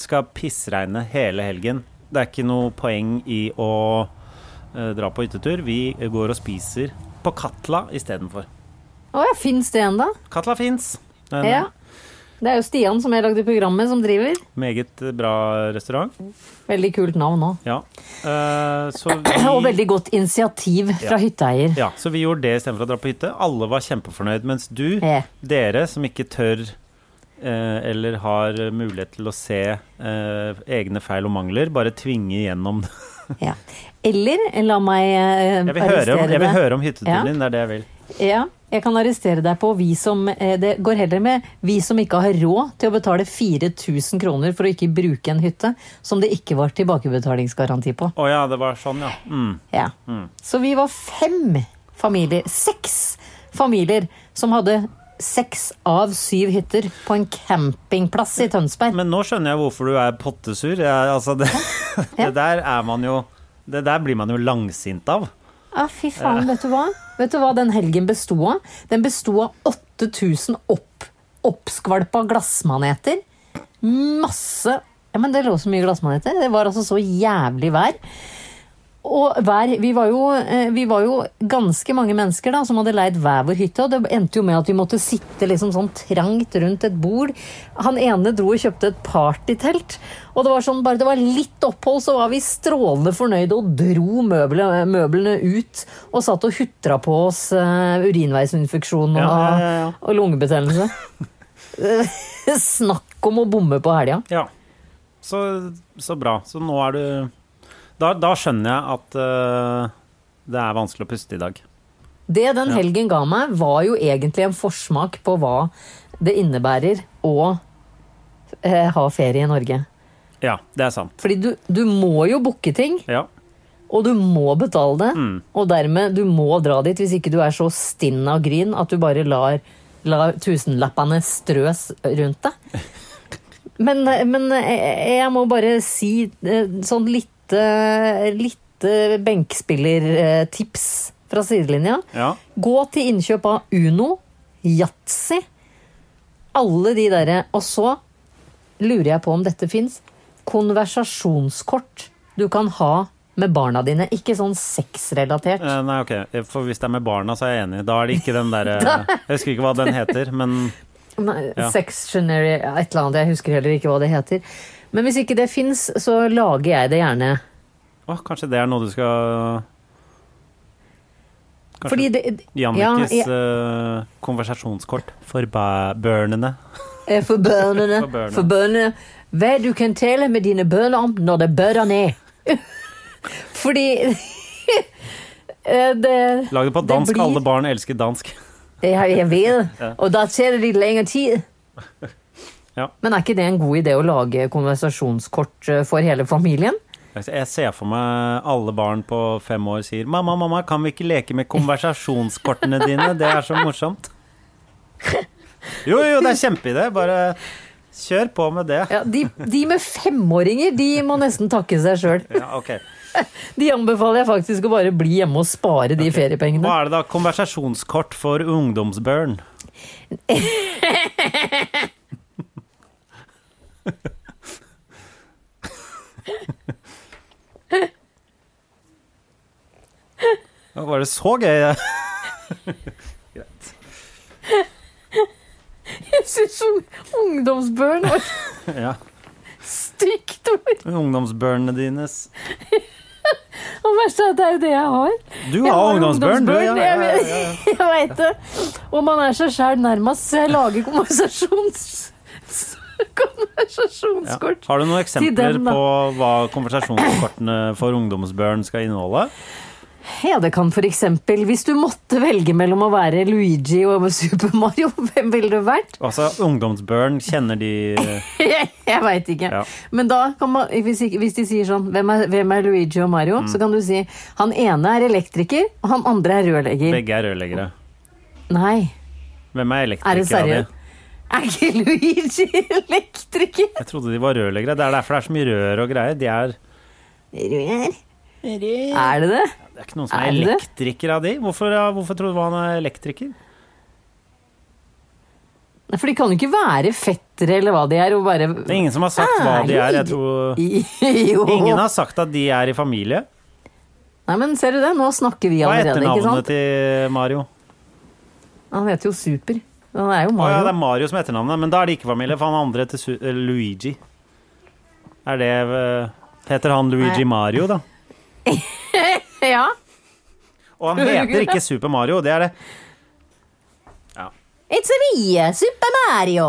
B: skal pissregne hele helgen. Det er ikke noe poeng i å eh, dra på hyttetur. Vi går og spiser på Katla istedenfor.
A: Å ja, fins det ennå?
B: Katla fins. En
A: Ja. Det er jo Stian som jeg lagde programmet, som driver.
B: meget bra restaurant.
A: Veldig kult navn òg.
B: Ja. Eh, så
A: Og
B: vi
A: veldig godt initiativ fra
B: Ja.
A: hytteeier.
B: ja, så vi gjorde det istedenfor å dra på hytte. Alle var kjempefornøyd, mens du
A: Ja.
B: Dere som ikke tør eh, eller har mulighet til å se eh, egne feil og mangler, bare
A: [LAUGHS]
B: tvinge igjennom det.
A: Ja. Eller la meg eh,
B: Jeg vil høre om,
A: arrestere
B: jeg vil
A: deg.
B: høre om hytteturen
A: Ja.
B: din, det er det jeg vil.
A: Ja, jeg kan arrestere deg på vi som eh, Det går heller med vi som ikke har råd til å betale 4000 kroner for å ikke bruke en hytte som det ikke var tilbakebetalingsgaranti på.
B: Å ja, det var sånn, ja. Mm.
A: Ja. Så vi var fem familier, seks familier, som hadde seks av syv hytter på en campingplass i Tønsberg.
B: Men nå skjønner jeg hvorfor du er pottesur. Jeg, altså det, [LAUGHS] det der er man jo Det der blir man jo langsint av.
A: Ja, Ah, fy faen, vet du hva? Vet du hva den helgen besto av? Den besto av 8000 opp, oppskvalpa glassmaneter. Masse ja, men Det lå så mye glassmaneter. Det var altså så jævlig vær. Og hver, vi, var jo, eh, vi var jo ganske mange mennesker da, som hadde leid hver vår hytte. Og det endte jo med at vi måtte sitte liksom sånn trangt rundt et bord. Han ene dro og kjøpte et partytelt. Og det var sånn, bare det var litt opphold, så var vi strålende fornøyde og dro møblene, møblene ut. Og satt og hutra på oss eh, urinveisinfeksjon og,
B: Ja, ja, ja, ja.
A: og lungebetennelse. [LAUGHS] Snakk om å bomme på helga.
B: Ja. Så, så bra. Så nå er du Da, da skjønner jeg at eh, det er vanskelig å puste i dag.
A: Det den helgen ga meg, var jo egentlig en forsmak på hva det innebærer å eh, ha ferie i Norge.
B: Ja, det er sant.
A: Fordi du, du må jo booke ting,
B: Ja.
A: og du må betale det. Og dermed, du må dra dit hvis ikke du er så stinn av gryn at du bare lar, lar tusenlappene strøs rundt deg. Men, men eh, jeg jeg må bare si eh, sånn lite, lite eh, benkspillertips fra sidelinja.
B: ja.
A: Gå til innkjøp av Uno, Yatzy, alle de derre. Og så lurer jeg på om dette fins. Konversasjonskort du kan ha med barna dine. Ikke sånn sexrelatert.
B: Eh, Nei, ok, for hvis det er med barna, så er jeg enig. Da er det ikke den
A: [LAUGHS]
B: derre Jeg husker ikke hva den heter, men
A: Nei,
B: Ja.
A: Sextionary, et eller annet. Jeg husker heller ikke hva det heter. Men hvis ikke det fins, så lager jeg det gjerne.
B: å, kanskje det er noe du skal Kanskje
A: Fordi det
B: Jannikes
A: ja,
B: eh, konversasjonskort for ba- børnene.
A: eh, For bønnene.
B: For bønnene.
A: For bønnene. Hva du kan tale med dine bønner om når det bøder ned. [LAUGHS] Fordi [LAUGHS] eh, det
B: Lag det på dansk.
A: blir-
B: Alle barn elsker dansk.
A: Ja, jeg vet. Og da tar det litt lengre tid.
B: [LAUGHS] Ja.
A: Men er ikke det en god idé å lage konversasjonskort eh, for hele familien?
B: Jeg ser for meg alle barn på fem år sier 'Mamma, mamma, kan vi ikke leke med konversasjonskortene dine? Det er så morsomt'. Jo, jo, det er kjempeidé. Bare kjør på med det.
A: Ja, de, de med femåringer de må nesten takke seg sjøl.
B: Ja, ok.
A: De anbefaler jeg faktisk å bare bli hjemme og spare de feriepengene.
B: Hva er det da? Konversasjonskort for ungdomsbørn. Ja, Var det så gøy?
A: Jeg syns ungdomsbørn var et
B: Ja.
A: stygt ord.
B: Ungdomsbørnene dines.
A: Og verst er at det er jo det jeg har.
B: Du
A: Jeg
B: har
A: har
B: ungdomsbørn, du. Ja,
A: ungdomsbørn,
B: ja, ja,
A: jeg
B: ja.
A: [LAUGHS] Jeg veit det. Og man er seg sjæl nærmest, så jeg lager konversasjons... [LAUGHS]
B: Ja.
A: Konversasjonskort.
B: Har du noen eksempler
A: den, da.
B: på hva konversasjonskortene for ungdomsbørn skal inneholde?
A: Ja, det kan for eksempel, hvis du måtte velge mellom å være Luigi og Super Mario, [LAUGHS] hvem ville du vært? [LAUGHS]
B: Altså, ungdomsbørn kjenner de
A: Jeg veit ikke.
B: Ja.
A: Men da kan man, hvis, ikke- hvis de sier sånn hvem er, hvem er Luigi og Mario?
B: Mm.
A: Så kan du si han ene er elektriker, og han andre er rørlegger.
B: begge er rørleggere.
A: Nei,
B: Hvem er
A: er det
B: elektriker av de?
A: seriøst? Er ikke Luigi [LAUGHS] elektriker?
B: [LAUGHS] Jeg trodde de var rørleggere. Det er derfor det er så mye rør og greier. De er
A: Rør? Er det det?
B: Det er ikke noen som er,
A: Er det det?
B: elektriker av de. Hvorfor, ja, hvorfor tror du han er elektriker?
A: For de kan jo ikke være fettere eller hva de er, og bare
B: Det er ingen som har sagt hva de er. Jeg tror
A: [LAUGHS] Jo.
B: Ingen har sagt at de er i familie.
A: Nei, men ser du det? Nå snakker vi
B: Hva er
A: allerede, ikke
B: etternavnet
A: sant?
B: til Mario?
A: Han heter jo Super. Han er jo
B: Å ja,
A: Mario.
B: det er Mario som er etternavnet, men da er de ikke familie, for han andre heter Su eh, Luigi. Er det eh, Heter han Luigi
A: Nei.
B: Mario, da?
A: ja.
B: Og han heter ikke Super Mario, det er det.
A: It's me, Super Mario!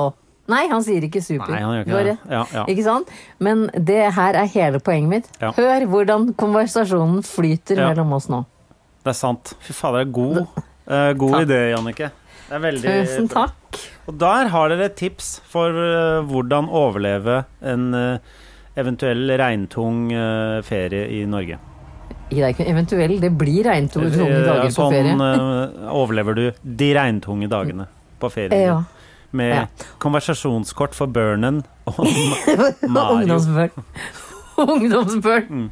A: Nei, han sier ikke super.
B: Nei, han gjør ikke
A: Du har
B: det.
A: rett.
B: Ja, ja.
A: Ikke sant? Men det her er hele poenget mitt.
B: Ja.
A: Hør hvordan konversasjonen flyter
B: Ja.
A: mellom oss nå.
B: Det er sant. Fy fader, det er god, eh, god
A: Takk.
B: idé, Jannicke. Det er veldig
A: Tusen
B: bra.
A: takk.
B: Og der har dere et tips for eh, hvordan overleve en eh, eventuell regntung eh, ferie i Norge.
A: Det er ikke eventuell, det blir regntunge dager
B: Eh,
A: på
B: sånn
A: ferie.
B: eh, overlever du de regntunge dagene på ferien.
A: Ja.
B: Med
A: Ja.
B: konversasjonskort for børnen
A: [LAUGHS]
B: og Mario. Mm.
A: Ungdomsbørn. Ungdomsbørn.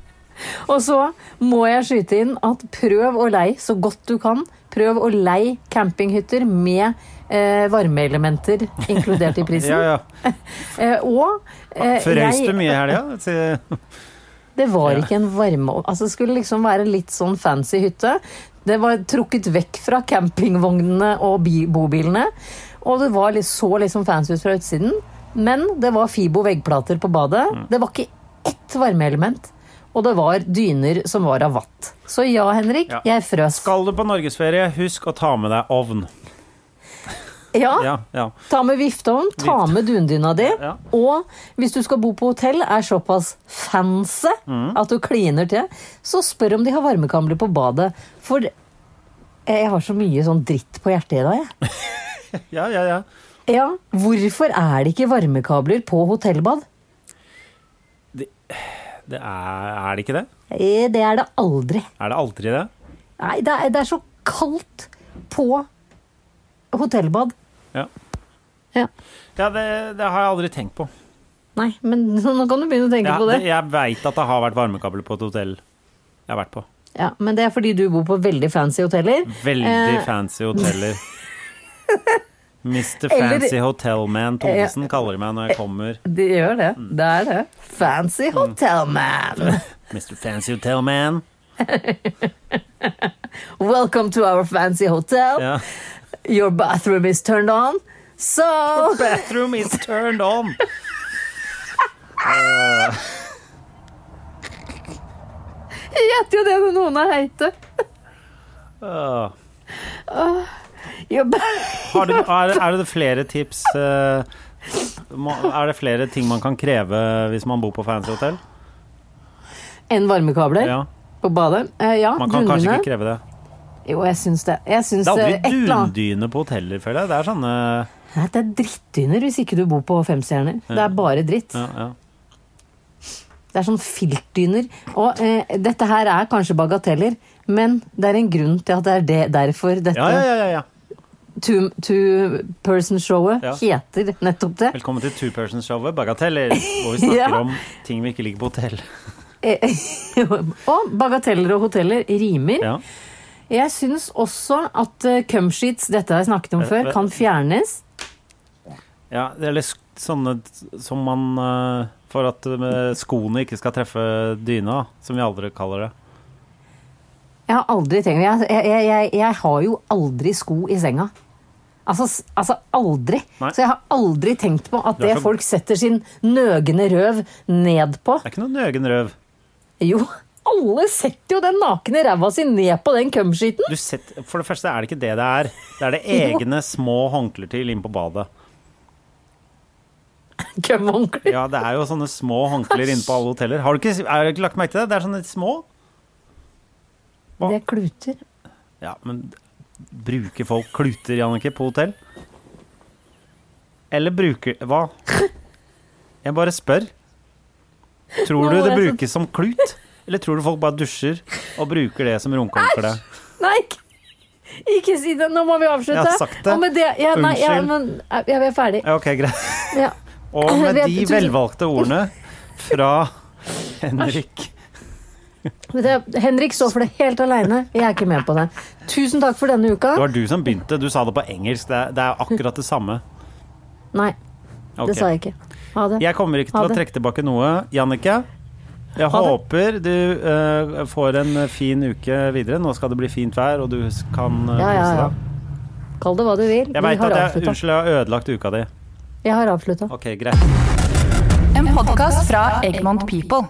A: Og så må jeg skyte inn at prøv å lei så godt du kan. Prøv å lei campinghytter med eh, varmeelementer inkludert
B: [LAUGHS]
A: i prisen.
B: Ja, ja.
A: Eh, og eh,
B: Frøys du
A: jeg-
B: mye i helga? Si-
A: Det var ikke en varme... Altså, det skulle liksom være litt sånn fancy hytte. Det var trukket vekk fra campingvognene og bi bobilene. Og det var litt, så liksom fancy ut fra utsiden. Men det var Fibo veggplater på badet.
B: Mm.
A: Det var ikke ett varmeelement. Og det var dyner som var av vatt. Så ja, Henrik,
B: Ja.
A: jeg frøs.
B: Skal du på norgesferie, husk å ta med deg ovn.
A: Ja,
B: Ja, ja.
A: Ta med vifteovn, ta
B: Vift.
A: med dundyna di.
B: Ja.
A: Og hvis du skal bo på hotell, er såpass fancy
B: Mm.
A: at du kliner til, så spør om de har varmekabler på badet. For eh, jeg har så mye sånn dritt på hjertet i dag,
B: [LAUGHS]
A: jeg.
B: ja, ja, ja.
A: Ja, hvorfor er det ikke varmekabler på hotellbad?
B: Det er, er det ikke det?
A: Eh, Det er det aldri.
B: Er det aldri det?
A: Nei, det er, det er så kaldt på hotellbad.
B: Ja,
A: Ja.
B: ja det, det har jeg aldri tenkt på.
A: Nei, men [LAUGHS] nå kan du begynne å tenke
B: Ja,
A: på det.
B: det- jeg veit at det har vært varmekabler på et hotell jeg har vært på.
A: Ja, men det er fordi du bor på veldig fancy hoteller.
B: Veldig
A: Eh,
B: fancy hoteller. Mr.
A: [LAUGHS] Eller-
B: Fancy Hotelman Thonesen kaller de meg når jeg kommer.
A: De gjør det.
B: Mm.
A: Det er det. Fancy hotelman.
B: Mr. Fancy Hotelman.
A: Welcome to our fancy hotel.
B: Ja.
A: Your bathroom is turned on.
B: [LAUGHS]
A: So
B: Bathroom is turned on!
A: Jeg gjetter jo det når noen er heite.
B: Åh.
A: Your ba
B: Har du, er, er det flere tips eh, må, Er det flere ting man kan kreve hvis man bor på fancy hotell?
A: en varmekabler
B: Ja.
A: på badet. Eh, ja,
B: Man kan kanskje
A: dundyne.
B: ikke kreve det.
A: Jo, jeg syns det. Jeg syns
B: Det er
A: eh, et
B: aldri
A: eller annet-
B: dundyne på hoteller, føler jeg. Det er sånne
A: Nei, det er drittdyner hvis ikke du bor på femstjerner. Det er bare dritt.
B: ja, ja.
A: Det er sånn filtdyner. Og eh, dette her er kanskje bagateller, men det er en grunn til at det er det, derfor dette
B: Ja, ja, ja, ja, ja.
A: two, two person showet
B: Ja.
A: heter nettopp det.
B: Velkommen til Two Persons Showet, Bagateller, hvor vi
A: [LAUGHS]
B: snakker
A: Ja.
B: om ting vi ikke liker på hotell.
A: Eh, [LAUGHS] og bagateller og hoteller rimer.
B: Ja.
A: Jeg syns også at uh, cumsheets, dette har jeg snakket
B: Eh,
A: om før, kan fjernes.
B: Ja, eller sk- sånne t- som man eh, For at eh, skoene ikke skal treffe dyna, som vi aldri kaller det.
A: Jeg har aldri tenkt jeg, jeg, jeg, jeg har jo aldri sko i senga. Altså, s- altså aldri.
B: Nei.
A: Så jeg har aldri tenkt på at
B: Du er
A: det
B: så-
A: folk setter sin nøgne røv ned på
B: Det er ikke noe nøgen røv.
A: Jo, alle setter jo den nakne ræva si ned på den [LAUGHS] cumsheeten!
B: Du setter, for det første er det ikke det det er. Det er det
A: [LAUGHS] Jo.
B: egne små håndklær til inn på badet.
A: kømmehåndklær.
B: Ja, det er jo sånne små håndklær inne på alle hoteller. Har du ikke, har du ikke lagt merke til det? Det er sånne små. Hva?
A: Det er kluter.
B: Ja, men bruker folk kluter, Jannicke, på hotell? Eller bruker Hva? Jeg bare spør. Tror
A: Nå
B: du
A: var jeg
B: det
A: sånn- så-
B: brukes som klut? Eller tror du folk bare dusjer og bruker det som runkehåndkle?
A: Nei, ikke, ikke si det! Nå må vi avslutte.
B: Jeg har sagt det.
A: Og med det ja, nei, ja,
B: Unnskyld.
A: men, jeg, jeg er ferdig.
B: Ja, ok, greit.
A: Ja.
B: Og med
A: Vet-
B: de
A: tusen-
B: velvalgte ordene fra Henrik
A: Men det- Henrik står for det helt aleine. Jeg er ikke med på det. Tusen takk for denne uka.
B: Det var du som begynte. Du sa det på engelsk. Det er, det er akkurat det samme.
A: Nei,
B: Ok.
A: det sa jeg ikke. Ha det.
B: [LAUGHS] Jeg kommer ikke
A: Ha
B: til å
A: det.
B: trekke tilbake noe, Jannicke. Jeg
A: Ha det.
B: håper du eh, får en fin uke videre. Nå skal det bli fint vær, og du s- kan eh,
A: Ja, ja,
B: kose
A: ja.
B: deg.
A: Kall det hva du vil.
B: Jeg
A: vi
B: veit
A: har
B: at jeg
A: avslutta.
B: Unnskyld, jeg har ødelagt uka di.
A: Jeg har avslutta.
B: Ok, greit.
C: En podkast fra Egmont People.